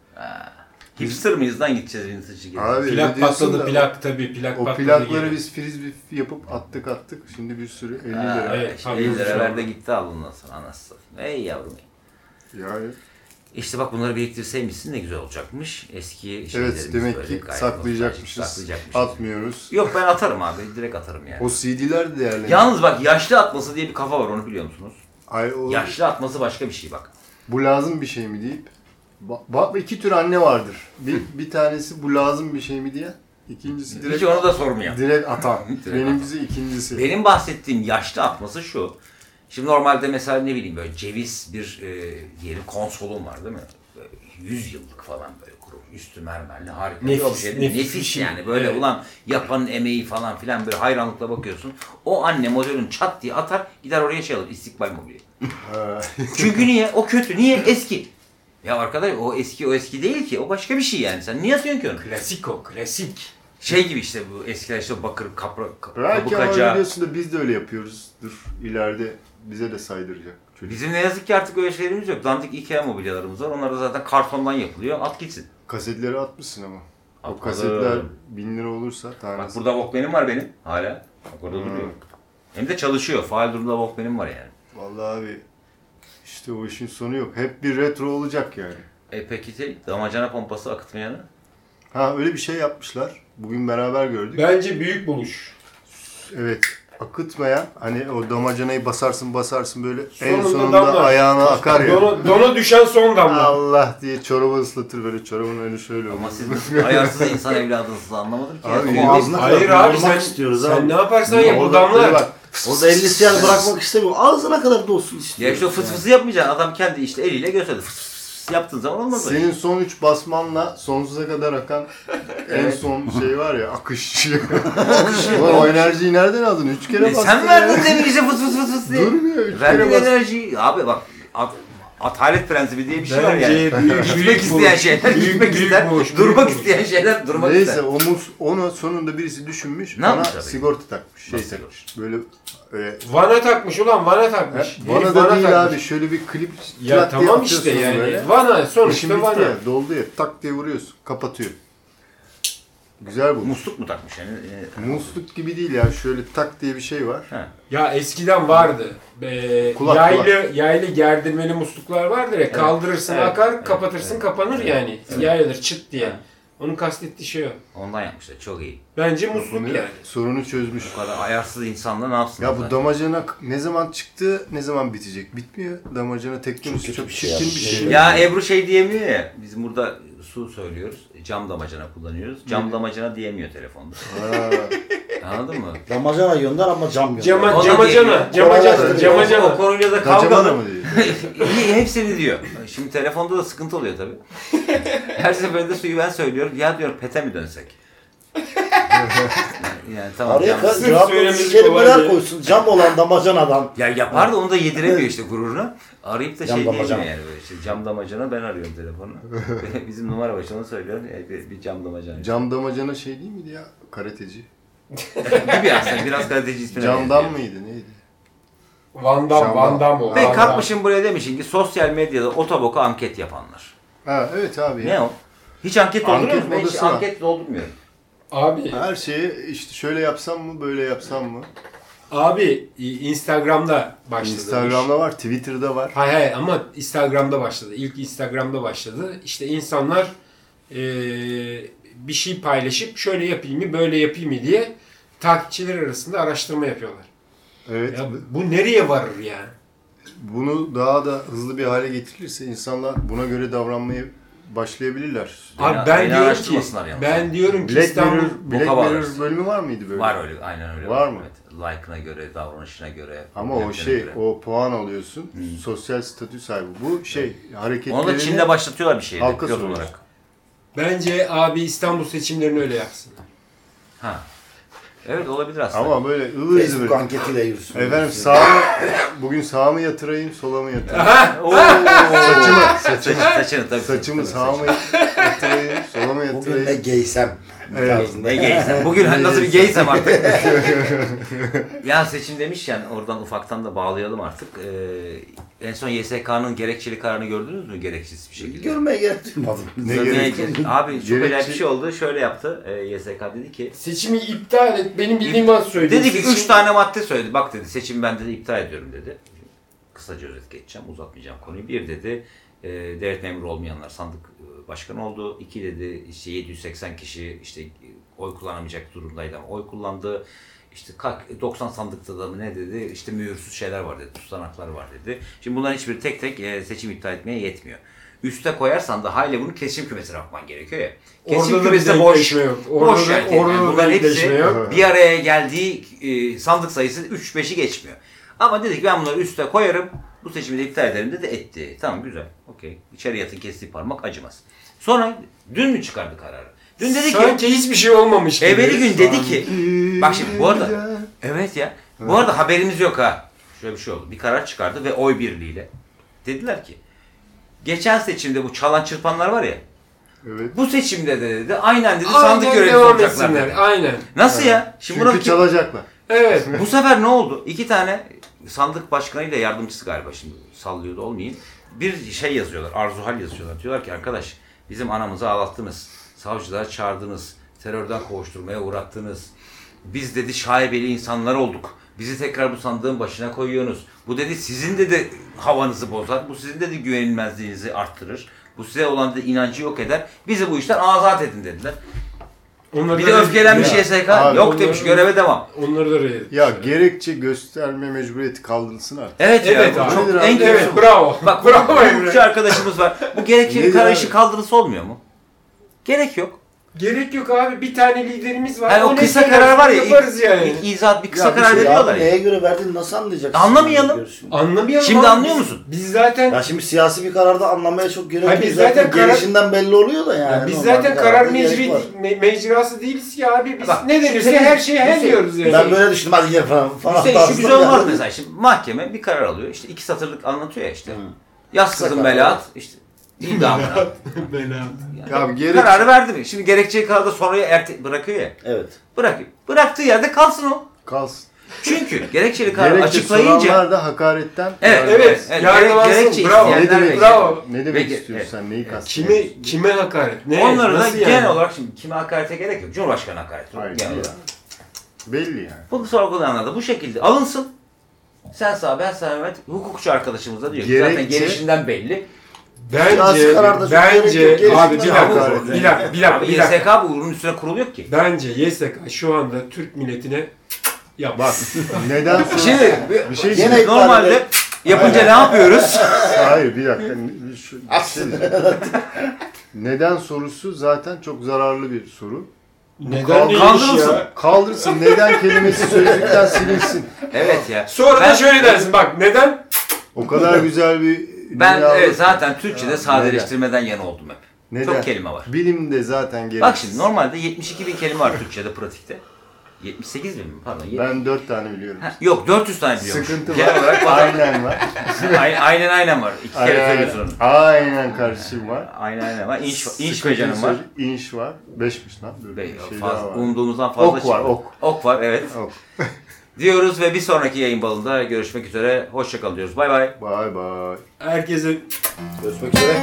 [SPEAKER 1] Hipster mıyız lan gideceğiz vintage'ı
[SPEAKER 2] Abi,
[SPEAKER 1] gezeceğiz.
[SPEAKER 2] öyle
[SPEAKER 3] Plak
[SPEAKER 2] diyorsun
[SPEAKER 3] patladı,
[SPEAKER 2] da-
[SPEAKER 3] plak tabii plak
[SPEAKER 2] O
[SPEAKER 3] patladı.
[SPEAKER 2] plakları
[SPEAKER 3] gibi.
[SPEAKER 2] biz frisbee yapıp attık attık. Şimdi bir sürü 50
[SPEAKER 1] Ha,
[SPEAKER 2] lira.
[SPEAKER 1] evet,
[SPEAKER 3] Evet, tabii,
[SPEAKER 1] 50 lira
[SPEAKER 3] yoksa-
[SPEAKER 1] verdi gitti al ondan sonra anasını. Ey yavrum.
[SPEAKER 2] Yani
[SPEAKER 1] İşte bak bunları biriktirseymişsin ne güzel olacakmış. Eski
[SPEAKER 2] evet
[SPEAKER 1] şeylerimiz
[SPEAKER 2] demek
[SPEAKER 1] böyle
[SPEAKER 2] ki
[SPEAKER 1] gayet
[SPEAKER 2] saklayacakmışız.
[SPEAKER 1] nostaljik, saklayacakmışız.
[SPEAKER 2] Atmıyoruz.
[SPEAKER 1] Yok ben atarım abi. Direkt atarım yani.
[SPEAKER 2] O CD'ler de değerli.
[SPEAKER 1] Yalnız bak yaşlı atması diye bir kafa var onu biliyor musunuz?
[SPEAKER 2] Ay, o,
[SPEAKER 1] Yaşlı atması başka bir şey bak.
[SPEAKER 2] bu lazım bir şey mi deyip ba- bak iki tür anne vardır. Bir, bir tanesi bu lazım bir şey mi diye. İkincisi direkt
[SPEAKER 1] Hiç onu da sormayan.
[SPEAKER 2] direkt atan.
[SPEAKER 1] Direkt
[SPEAKER 2] Benimkisi ikincisi.
[SPEAKER 1] Benim bahsettiğim yaşlı atması şu. Şimdi normalde mesela ne bileyim böyle ceviz bir e, diyelim konsolum var değil mi? Böyle 100 yıllık falan böyle kurum. Üstü mermerli harika bir
[SPEAKER 3] Nefis,
[SPEAKER 1] şey. değil mi?
[SPEAKER 3] nefis
[SPEAKER 1] Nefis,
[SPEAKER 3] bir şey.
[SPEAKER 1] yani böyle
[SPEAKER 3] Evet.
[SPEAKER 1] ulan yapanın emeği falan filan böyle hayranlıkla bakıyorsun. O anne modelin çat diye atar gider oraya şey alır istikbal mobilya.
[SPEAKER 2] Ha.
[SPEAKER 1] Çünkü niye? O kötü. Niye? Eski. Ya arkadaş o eski o eski değil ki. O başka bir şey yani. Sen niye atıyorsun ki onu?
[SPEAKER 3] Klasiko, klasik.
[SPEAKER 1] Şey gibi işte bu eskiler işte bakır kapra, ka-
[SPEAKER 2] Belki ama
[SPEAKER 1] kabukaca.
[SPEAKER 2] biliyorsun da biz de öyle yapıyoruz. Dur ileride bize de saydıracak. Çocuk.
[SPEAKER 1] Bizim ne yazık ki artık öyle şeylerimiz yok. Dandik Ikea mobilyalarımız var. Onlar da zaten kartondan yapılıyor. At gitsin.
[SPEAKER 2] Kasetleri atmışsın ama. O
[SPEAKER 1] Atmadım.
[SPEAKER 2] kasetler 1000 lira olursa
[SPEAKER 1] Bak
[SPEAKER 2] tanesi.
[SPEAKER 1] burada Walkman'im var benim hala. Bak
[SPEAKER 2] Hmm.
[SPEAKER 1] orada duruyor. Hem de çalışıyor. Faal durumda Walkman'im var yani.
[SPEAKER 2] Vallahi abi işte o işin sonu yok. Hep bir retro olacak yani.
[SPEAKER 1] E peki te- damacana pompası akıtmayanı?
[SPEAKER 2] Ha öyle bir şey yapmışlar. Bugün beraber gördük.
[SPEAKER 3] Bence büyük buluş.
[SPEAKER 2] Evet. Akıtmayan hani o damacanayı basarsın basarsın böyle en
[SPEAKER 3] Sonunda
[SPEAKER 2] sonunda
[SPEAKER 3] damla.
[SPEAKER 2] ayağına akar ya.
[SPEAKER 3] Dona, dona düşen son damla.
[SPEAKER 2] Allah diye çorabı ıslatır böyle çorabın önü şöyle olur.
[SPEAKER 1] Ama siz nasıl ayarsız insan evladınızı anlamadım ki.
[SPEAKER 2] Abi,
[SPEAKER 1] Ama
[SPEAKER 2] ağzına-
[SPEAKER 3] Hayır abi sen,
[SPEAKER 4] istiyoruz
[SPEAKER 3] sen
[SPEAKER 4] abi.
[SPEAKER 3] ne yaparsan yap bu
[SPEAKER 2] Orada şey
[SPEAKER 3] damlar.
[SPEAKER 2] böyle bak,
[SPEAKER 4] Orada 50 siyah bırakmak istemiyorum. Ağzına kadar dolsun
[SPEAKER 1] Ya
[SPEAKER 4] istiyoruz.
[SPEAKER 1] işte o fıs fısı yapmayacaksın. Adam kendi işte eliyle gösterdi. Fıs fıs fıs yaptığın zaman olmaz öyle.
[SPEAKER 2] Senin son üç basmanla sonsuza kadar akan en
[SPEAKER 1] Evet.
[SPEAKER 2] son şey var ya akış. Ulan o enerjiyi nereden aldın? Üç kere
[SPEAKER 1] E
[SPEAKER 2] bastın.
[SPEAKER 1] sen
[SPEAKER 2] ya.
[SPEAKER 1] verdin demin işte fıs fıs fıs fıs diye.
[SPEAKER 2] Durmuyor. Üç
[SPEAKER 1] Verdiğin
[SPEAKER 2] kere bastın.
[SPEAKER 1] enerjiyi. Abi bak at, atalet prensibi diye bir şey var yani.
[SPEAKER 3] Bence büyük,
[SPEAKER 1] Gitmek isteyen
[SPEAKER 3] buluş.
[SPEAKER 1] şeyler
[SPEAKER 3] Büyük-
[SPEAKER 1] gitmek
[SPEAKER 3] büyük
[SPEAKER 1] ister.
[SPEAKER 3] buluş, büyük
[SPEAKER 1] durmak
[SPEAKER 3] buluş.
[SPEAKER 1] isteyen şey- şeyler durmak
[SPEAKER 2] Neyse
[SPEAKER 1] ister.
[SPEAKER 2] omuz onu sonunda birisi düşünmüş.
[SPEAKER 1] Ne
[SPEAKER 2] ona
[SPEAKER 1] yapmış abi?
[SPEAKER 2] sigorta takmış. Şey
[SPEAKER 1] Nasıl
[SPEAKER 2] takmış. Böyle e,
[SPEAKER 3] Vana takmış ulan vana takmış.
[SPEAKER 2] bana
[SPEAKER 3] Herif
[SPEAKER 2] da değil
[SPEAKER 3] takmış.
[SPEAKER 2] abi şöyle bir klip
[SPEAKER 3] Ya
[SPEAKER 2] tırat diye
[SPEAKER 3] tamam işte
[SPEAKER 2] atıyorsunuz
[SPEAKER 3] yani.
[SPEAKER 2] böyle.
[SPEAKER 3] Vana
[SPEAKER 2] İşin
[SPEAKER 3] sonuçta
[SPEAKER 2] bitti
[SPEAKER 3] vana.
[SPEAKER 2] ya, doldu ya tak diye vuruyorsun kapatıyor. Güzel bu.
[SPEAKER 1] Musluk mu takmış yani? E,
[SPEAKER 2] Musluk gibi değil ya şöyle tak diye bir şey var.
[SPEAKER 3] Ya eskiden vardı. Ee,
[SPEAKER 2] Kulak,
[SPEAKER 3] yaylı yaylı gerdirmeli musluklar vardır ya. Kaldırırsın
[SPEAKER 1] evet,
[SPEAKER 3] akar,
[SPEAKER 1] evet,
[SPEAKER 3] kapatırsın
[SPEAKER 1] evet,
[SPEAKER 3] kapanır
[SPEAKER 1] evet,
[SPEAKER 3] yani.
[SPEAKER 1] evet.
[SPEAKER 3] Yayılır çıt diye.
[SPEAKER 1] Evet.
[SPEAKER 3] Onun kastettiği şey o.
[SPEAKER 1] ondan yapmışlar. Çok iyi.
[SPEAKER 3] Bence
[SPEAKER 2] Bunu-
[SPEAKER 3] musluk yani.
[SPEAKER 2] Sorunu çözmüş.
[SPEAKER 1] Bu kadar ayarsız insanla ne yapsın?
[SPEAKER 2] Ya bu damacana ne zaman çıktı, ne zaman bitecek? Bitmiyor. Damacana teknolojisi çok,
[SPEAKER 4] kötü bir şey
[SPEAKER 2] çirkin bir
[SPEAKER 4] yapmış.
[SPEAKER 2] şey.
[SPEAKER 1] Ya Ebru şey diyemiyor ya. Biz burada su söylüyoruz. Cam damacana kullanıyoruz. Cam damacana diyemiyor telefonda.
[SPEAKER 2] Ha.
[SPEAKER 1] Anladın mı?
[SPEAKER 4] Damacana gönder ama cam gönder.
[SPEAKER 1] O da
[SPEAKER 3] Cama,
[SPEAKER 1] değil.
[SPEAKER 3] camacana, camacana,
[SPEAKER 4] Kolay
[SPEAKER 1] O
[SPEAKER 3] camacana.
[SPEAKER 1] konuyla da
[SPEAKER 2] Damacana
[SPEAKER 1] kavgalı.
[SPEAKER 2] mı diyor?
[SPEAKER 1] İyi, hepsini diyor. Şimdi telefonda da sıkıntı oluyor tabii. Her seferinde suyu ben söylüyorum. Ya diyor pete mi dönsek? yani tamam.
[SPEAKER 4] Araya
[SPEAKER 1] cam-
[SPEAKER 4] ka- cevapları
[SPEAKER 3] söylemesi
[SPEAKER 4] kelimeler
[SPEAKER 3] kolay
[SPEAKER 4] koysun. Cam olan damacanadan.
[SPEAKER 1] Ya yapar da onu da yediremiyor işte gururuna. Arayıp da
[SPEAKER 4] Cam
[SPEAKER 1] şey diyemiyor
[SPEAKER 4] damacana.
[SPEAKER 1] yani. Böyle işte cam damacana ben arıyorum telefonu. Bizim numara başına söylüyorum. e, bir, bir cam damacana.
[SPEAKER 2] Cam damacana şey değil miydi ya? Karateci.
[SPEAKER 1] Gibi aslında biraz gazeteci ismine. benziyor.
[SPEAKER 2] Camdan mıydı neydi?
[SPEAKER 3] Van Damme,
[SPEAKER 2] Cama.
[SPEAKER 3] Van Damme o.
[SPEAKER 1] Ve
[SPEAKER 3] Van Damme.
[SPEAKER 1] kalkmışım buraya demişim ki sosyal medyada otoboka anket yapanlar.
[SPEAKER 2] Ha evet abi.
[SPEAKER 1] Ne
[SPEAKER 2] Ya.
[SPEAKER 1] o? Hiç anket dolduruyor
[SPEAKER 2] Anket
[SPEAKER 1] musun? Ben Hiç
[SPEAKER 2] modası var.
[SPEAKER 1] anket doldurmuyorum.
[SPEAKER 3] Abi,
[SPEAKER 2] Her şeyi işte şöyle yapsam mı, böyle yapsam mı?
[SPEAKER 3] abi Instagram'da başladı.
[SPEAKER 2] Instagram'da var, Twitter'da var.
[SPEAKER 3] Hay hay ama Instagram'da başladı. İlk Instagram'da başladı. İşte insanlar eee, bir şey paylaşıp şöyle yapayım mı böyle yapayım mı diye takipçiler arasında araştırma yapıyorlar.
[SPEAKER 2] Evet.
[SPEAKER 3] Ya bu nereye varır yani?
[SPEAKER 2] Bunu daha da hızlı bir hale getirilirse insanlar buna göre davranmayı başlayabilirler.
[SPEAKER 1] Beni-
[SPEAKER 3] Abi ben
[SPEAKER 1] beni
[SPEAKER 3] diyorum ki
[SPEAKER 1] araştırmasınlar yalnız.
[SPEAKER 3] ben diyorum ki
[SPEAKER 2] Black
[SPEAKER 3] İstanbul
[SPEAKER 2] Mirror, Black
[SPEAKER 1] boka
[SPEAKER 2] Mirror
[SPEAKER 1] bağlarsın.
[SPEAKER 2] bölümü var mıydı böyle?
[SPEAKER 1] Var öyle, aynen öyle.
[SPEAKER 2] Var mı?
[SPEAKER 1] Evet. Like'ına göre, davranışına göre.
[SPEAKER 2] Ama o
[SPEAKER 1] hareketine
[SPEAKER 2] şey,
[SPEAKER 1] göre.
[SPEAKER 2] o puan alıyorsun. Sosyal statü sahibi. Bu şey, hareketlerini...
[SPEAKER 1] Onu da Çin'de başlatıyorlar bir şeyi.
[SPEAKER 2] halka
[SPEAKER 1] Halka
[SPEAKER 2] soruyor.
[SPEAKER 1] olarak.
[SPEAKER 3] bence abi İstanbul seçimlerini öyle yapsın.
[SPEAKER 1] Ha. Evet olabilir aslında.
[SPEAKER 2] Ama böyle ıvır zıvır.
[SPEAKER 4] Facebook anketiyle yürüsün.
[SPEAKER 2] Efendim sağa mı, bugün sağa mı yatırayım, sola mı yatırayım?
[SPEAKER 1] Oo,
[SPEAKER 2] saçımı,
[SPEAKER 1] saçını, saçını tabii.
[SPEAKER 2] saçımı
[SPEAKER 1] tabii,
[SPEAKER 2] sağa mı yatırayım, sola mı
[SPEAKER 4] Bugün ne
[SPEAKER 2] yatırayım?
[SPEAKER 4] geysem tarzında.
[SPEAKER 1] Ne geysem. Bugün hani nasıl bir geysem artık. ya seçim demişken oradan ufaktan da bağlayalım artık. Ee, en son YSK'nın gerekçeli kararını gördünüz mü gereksiz bir şekilde?
[SPEAKER 4] şey Görmeye gerek duymadım.
[SPEAKER 2] Ne
[SPEAKER 1] Zaten
[SPEAKER 2] gerek-
[SPEAKER 1] herkes- Abi çok
[SPEAKER 2] Gerekçe-
[SPEAKER 1] acayip bir şey oldu. Şöyle yaptı. Ee, YSK dedi ki
[SPEAKER 3] Seçimi iptal et. Benim bildiğim az söyleyeyim.
[SPEAKER 1] dedi ki
[SPEAKER 3] Seçim-
[SPEAKER 1] 3 tane madde söyledi. Bak dedi seçim ben dedi iptal ediyorum dedi. Kısaca özet geçeceğim. Uzatmayacağım konuyu. Bir dedi e, devlet memuru olmayanlar sandık e, başkanı oldu. İki dedi işte 780 kişi işte e, oy kullanamayacak durumdaydı ama oy kullandı. İşte kalk- 90 sandıkta da mı ne dedi? İşte mühürsüz şeyler var dedi. Tutanaklar var dedi. Şimdi bunların hiçbiri tek tek e, seçim iptal etmeye yetmiyor. Üste koyarsan da hayli bunu kesim kümesine atman gerekiyor ya. Kesim
[SPEAKER 3] Orada da bir
[SPEAKER 1] kümesi de
[SPEAKER 3] boş.
[SPEAKER 1] boş.
[SPEAKER 3] Yok. Orada,
[SPEAKER 1] boş
[SPEAKER 3] da-
[SPEAKER 1] yani.
[SPEAKER 3] orada
[SPEAKER 1] Yani
[SPEAKER 3] da
[SPEAKER 1] bunların
[SPEAKER 3] bir
[SPEAKER 1] hepsi-
[SPEAKER 3] değişme yok.
[SPEAKER 1] bir araya geldiği e, sandık sayısı 3-5'i geçmiyor. Ama dedik ben bunları üste koyarım. Bu seçimi de iptal ederim dedi. Etti. Tamam güzel. Okey. İçeri yatın kestiği parmak acımaz. Sonra dün mü çıkardı kararı? Dün dedi ki
[SPEAKER 3] Sanki hiçbir şey olmamış gibi.
[SPEAKER 1] evveli gün dedi ki bak şimdi bu arada evet ya bu arada haberimiz yok ha. Şöyle bir şey oldu. Bir karar çıkardı ve oy birliğiyle. Dediler ki Geçen seçimde bu çalan çırpanlar var ya.
[SPEAKER 2] Evet.
[SPEAKER 1] Bu seçimde de dedi aynen dedi sandık
[SPEAKER 3] Aynen
[SPEAKER 1] görevlisi
[SPEAKER 3] devam
[SPEAKER 1] olacaklar.
[SPEAKER 3] etsinler.
[SPEAKER 1] dedi.
[SPEAKER 3] Aynen.
[SPEAKER 1] Nasıl ya? Şimdi
[SPEAKER 2] Çünkü
[SPEAKER 1] buna kim-
[SPEAKER 2] çalacaklar.
[SPEAKER 3] Evet.
[SPEAKER 1] bu sefer ne oldu? İki tane sandık başkanıyla yardımcısı galiba şimdi sallıyor da olmayayım. Bir şey yazıyorlar, arzuhal yazıyorlar. Diyorlar ki arkadaş bizim anamızı ağlattınız, savcılığa çağırdınız, terörden kovuşturmaya uğrattınız. Biz dedi şaibeli insanlar olduk. Bizi tekrar bu sandığın başına koyuyorsunuz. Bu dedi sizin dedi havanızı bozar. Bu sizin dedi güvenilmezliğinizi arttırır. Bu size olan dedi inancı yok eder. Bizi bu işten azat edin dediler.
[SPEAKER 3] Onları
[SPEAKER 1] Bir
[SPEAKER 3] da
[SPEAKER 1] de
[SPEAKER 3] red-
[SPEAKER 1] öfkelenmiş
[SPEAKER 2] Ya,
[SPEAKER 1] YSK.
[SPEAKER 2] abi,
[SPEAKER 1] yok
[SPEAKER 3] onları-
[SPEAKER 1] demiş göreve devam.
[SPEAKER 3] Onları da red-
[SPEAKER 2] Ya gerekçe gösterme mecburiyeti kaldırsın artık.
[SPEAKER 1] Evet,
[SPEAKER 3] Evet
[SPEAKER 1] ya, bu
[SPEAKER 3] abi.
[SPEAKER 1] çok
[SPEAKER 2] Nedir abi?
[SPEAKER 1] en kötü.
[SPEAKER 3] Evet bravo.
[SPEAKER 1] Bak
[SPEAKER 3] bravo
[SPEAKER 1] bravo
[SPEAKER 3] Emre.
[SPEAKER 1] arkadaşımız var. Bu gerekçeli
[SPEAKER 2] Nedir
[SPEAKER 1] kara
[SPEAKER 2] abi?
[SPEAKER 1] işi kaldırısı olmuyor mu? Gerek yok.
[SPEAKER 3] Gerek yok abi bir tane liderimiz var.
[SPEAKER 1] Yani o
[SPEAKER 3] ne
[SPEAKER 1] kısa
[SPEAKER 3] istiyorsa
[SPEAKER 1] karar var ya.
[SPEAKER 3] Yaparız
[SPEAKER 1] ilk-
[SPEAKER 3] yani.
[SPEAKER 1] ilk izahat bir kısa
[SPEAKER 4] Ya bir
[SPEAKER 1] karar
[SPEAKER 4] şey
[SPEAKER 1] veriyorlar
[SPEAKER 4] abi,
[SPEAKER 1] ya.
[SPEAKER 4] Neye göre verdiğini nasıl anlayacaksın?
[SPEAKER 1] Anlamayalım.
[SPEAKER 4] Görüşünü.
[SPEAKER 3] Anlamayalım
[SPEAKER 1] Şimdi
[SPEAKER 3] abi.
[SPEAKER 1] anlıyor musun?
[SPEAKER 3] Biz zaten
[SPEAKER 4] Ya şimdi siyasi bir kararda anlamaya çok gerek yok.
[SPEAKER 3] Hayır, biz
[SPEAKER 4] Zaten,
[SPEAKER 3] zaten karar-
[SPEAKER 4] gelişinden belli oluyor da yani.
[SPEAKER 3] Ya biz
[SPEAKER 4] Normal
[SPEAKER 3] zaten
[SPEAKER 4] bir
[SPEAKER 3] karar
[SPEAKER 4] kararda gerek
[SPEAKER 3] mecri,
[SPEAKER 4] var.
[SPEAKER 3] me- mecrası değiliz ki abi. Biz
[SPEAKER 1] Bak,
[SPEAKER 3] ne denirse
[SPEAKER 1] Hüseyin-
[SPEAKER 3] her şeye he
[SPEAKER 1] Hüseyin-
[SPEAKER 3] diyoruz yani.
[SPEAKER 4] Ben böyle düşündüm hadi gel falan. falan
[SPEAKER 1] Hüseyin şu
[SPEAKER 4] tarzında
[SPEAKER 1] güzel olmaz
[SPEAKER 4] yani.
[SPEAKER 1] mesela şimdi. Mahkeme bir karar alıyor. İşte iki satırlık anlatıyor ya işte.
[SPEAKER 4] Hı.
[SPEAKER 1] Yaz
[SPEAKER 4] Kısa
[SPEAKER 1] kızım
[SPEAKER 4] karar.
[SPEAKER 1] belaat. İşte idamına.
[SPEAKER 3] Bela.
[SPEAKER 2] Ya abi gerek
[SPEAKER 1] Kararı verdi mi? Şimdi gerekçeli kararda sonraya erte bırakıyor ya.
[SPEAKER 4] Evet.
[SPEAKER 1] Bırakıyor. Bıraktığı yerde kalsın o.
[SPEAKER 2] kalsın.
[SPEAKER 1] Çünkü gerekçeli karar
[SPEAKER 2] Gerekçe
[SPEAKER 1] açıklayınca
[SPEAKER 2] soranlar da hakaretten
[SPEAKER 1] Evet,
[SPEAKER 2] yargılanır.
[SPEAKER 3] Evet,
[SPEAKER 1] Evet,
[SPEAKER 3] yargılansın.
[SPEAKER 1] gerekçe
[SPEAKER 3] bravo.
[SPEAKER 2] Ne
[SPEAKER 1] isteyenler
[SPEAKER 2] demek,
[SPEAKER 1] ve-
[SPEAKER 3] bravo.
[SPEAKER 2] ne demek
[SPEAKER 1] Ve-
[SPEAKER 2] istiyorsun
[SPEAKER 1] evet.
[SPEAKER 2] sen? Neyi kastediyorsun?
[SPEAKER 3] Kime kime hakaret? Ne?
[SPEAKER 1] onları da
[SPEAKER 3] E, Nasıl yani?
[SPEAKER 1] genel olarak şimdi kime hakarete gerek yok. Cumhurbaşkanı hakareti.
[SPEAKER 2] Hayır,
[SPEAKER 1] Genel
[SPEAKER 2] ya.
[SPEAKER 1] olarak.
[SPEAKER 2] Belli yani.
[SPEAKER 1] Bu sorgulayanlar da bu şekilde alınsın. Sen sağ ben sağ Mehmet. Hukukçu arkadaşımız da diyor ki zaten
[SPEAKER 2] Gerekçe-
[SPEAKER 1] gelişinden belli.
[SPEAKER 3] Bence
[SPEAKER 4] Siyasi kararda çok gerek yok.
[SPEAKER 3] bence
[SPEAKER 4] Gerisi
[SPEAKER 3] abi bir
[SPEAKER 4] bir
[SPEAKER 3] dakika.
[SPEAKER 2] hakaret
[SPEAKER 3] Bir
[SPEAKER 2] yani.
[SPEAKER 3] dakika. Bir dakika.
[SPEAKER 1] Abi
[SPEAKER 3] Bir dakika.
[SPEAKER 1] YSK bu ürünün üstüne kurulu yok ki.
[SPEAKER 3] Bence YSK şu anda Türk milletine ya
[SPEAKER 2] Bak neden sonra...
[SPEAKER 1] Şimdi
[SPEAKER 2] bir şey
[SPEAKER 4] Gene-
[SPEAKER 2] diyeceğim.
[SPEAKER 1] normalde yapınca ne yapıyoruz?
[SPEAKER 2] Hayır bir dakika. Ne- şu- neden sorusu zaten çok zararlı bir soru.
[SPEAKER 3] neden
[SPEAKER 2] Kaldır-
[SPEAKER 3] değilmiş
[SPEAKER 1] kaldırılsın.
[SPEAKER 3] ya?
[SPEAKER 2] Kaldırsın. Neden kelimesi sözlükten silinsin.
[SPEAKER 1] evet ya.
[SPEAKER 3] Sonra
[SPEAKER 1] Ben-
[SPEAKER 3] da şöyle dersin bak neden?
[SPEAKER 2] O kadar güzel bir
[SPEAKER 1] Ben
[SPEAKER 2] dünya-
[SPEAKER 1] evet, zaten Türkçe'de
[SPEAKER 2] Ya,
[SPEAKER 1] sadeleştirmeden yana oldum hep.
[SPEAKER 2] neden?
[SPEAKER 1] Çok kelime var.
[SPEAKER 2] Bilimde zaten gereksiz.
[SPEAKER 1] Bak şimdi normalde 72 bin kelime var Türkçe'de pratikte. 78 bin mi? Pardon. yet-
[SPEAKER 2] Ben dört tane biliyorum.
[SPEAKER 1] Ha, yok 400 tane biliyormuş.
[SPEAKER 2] Sıkıntı
[SPEAKER 1] Genel
[SPEAKER 2] var.
[SPEAKER 1] olarak var.
[SPEAKER 2] Aynen var.
[SPEAKER 1] aynen aynen, var. İki kere söylüyorsun
[SPEAKER 2] Aynen,
[SPEAKER 1] onu.
[SPEAKER 2] aynen kardeşim var.
[SPEAKER 1] Aynen aynen var. İnç, inç
[SPEAKER 2] Sıkıntı
[SPEAKER 1] becanım var.
[SPEAKER 2] söz- İnş var. Beşmiş lan. Böyle
[SPEAKER 1] Be-
[SPEAKER 2] bir şey
[SPEAKER 1] fazla,
[SPEAKER 2] daha var.
[SPEAKER 1] umduğumuzdan fazla
[SPEAKER 2] Ok var,
[SPEAKER 1] çıktı.
[SPEAKER 2] ok.
[SPEAKER 1] Ok var evet.
[SPEAKER 2] Ok.
[SPEAKER 1] Diyoruz ve bir sonraki yayın balında görüşmek üzere. Hoşçakalın diyoruz. Bay bay.
[SPEAKER 2] Bye bye.
[SPEAKER 3] Herkese
[SPEAKER 4] Görüşmek üzere.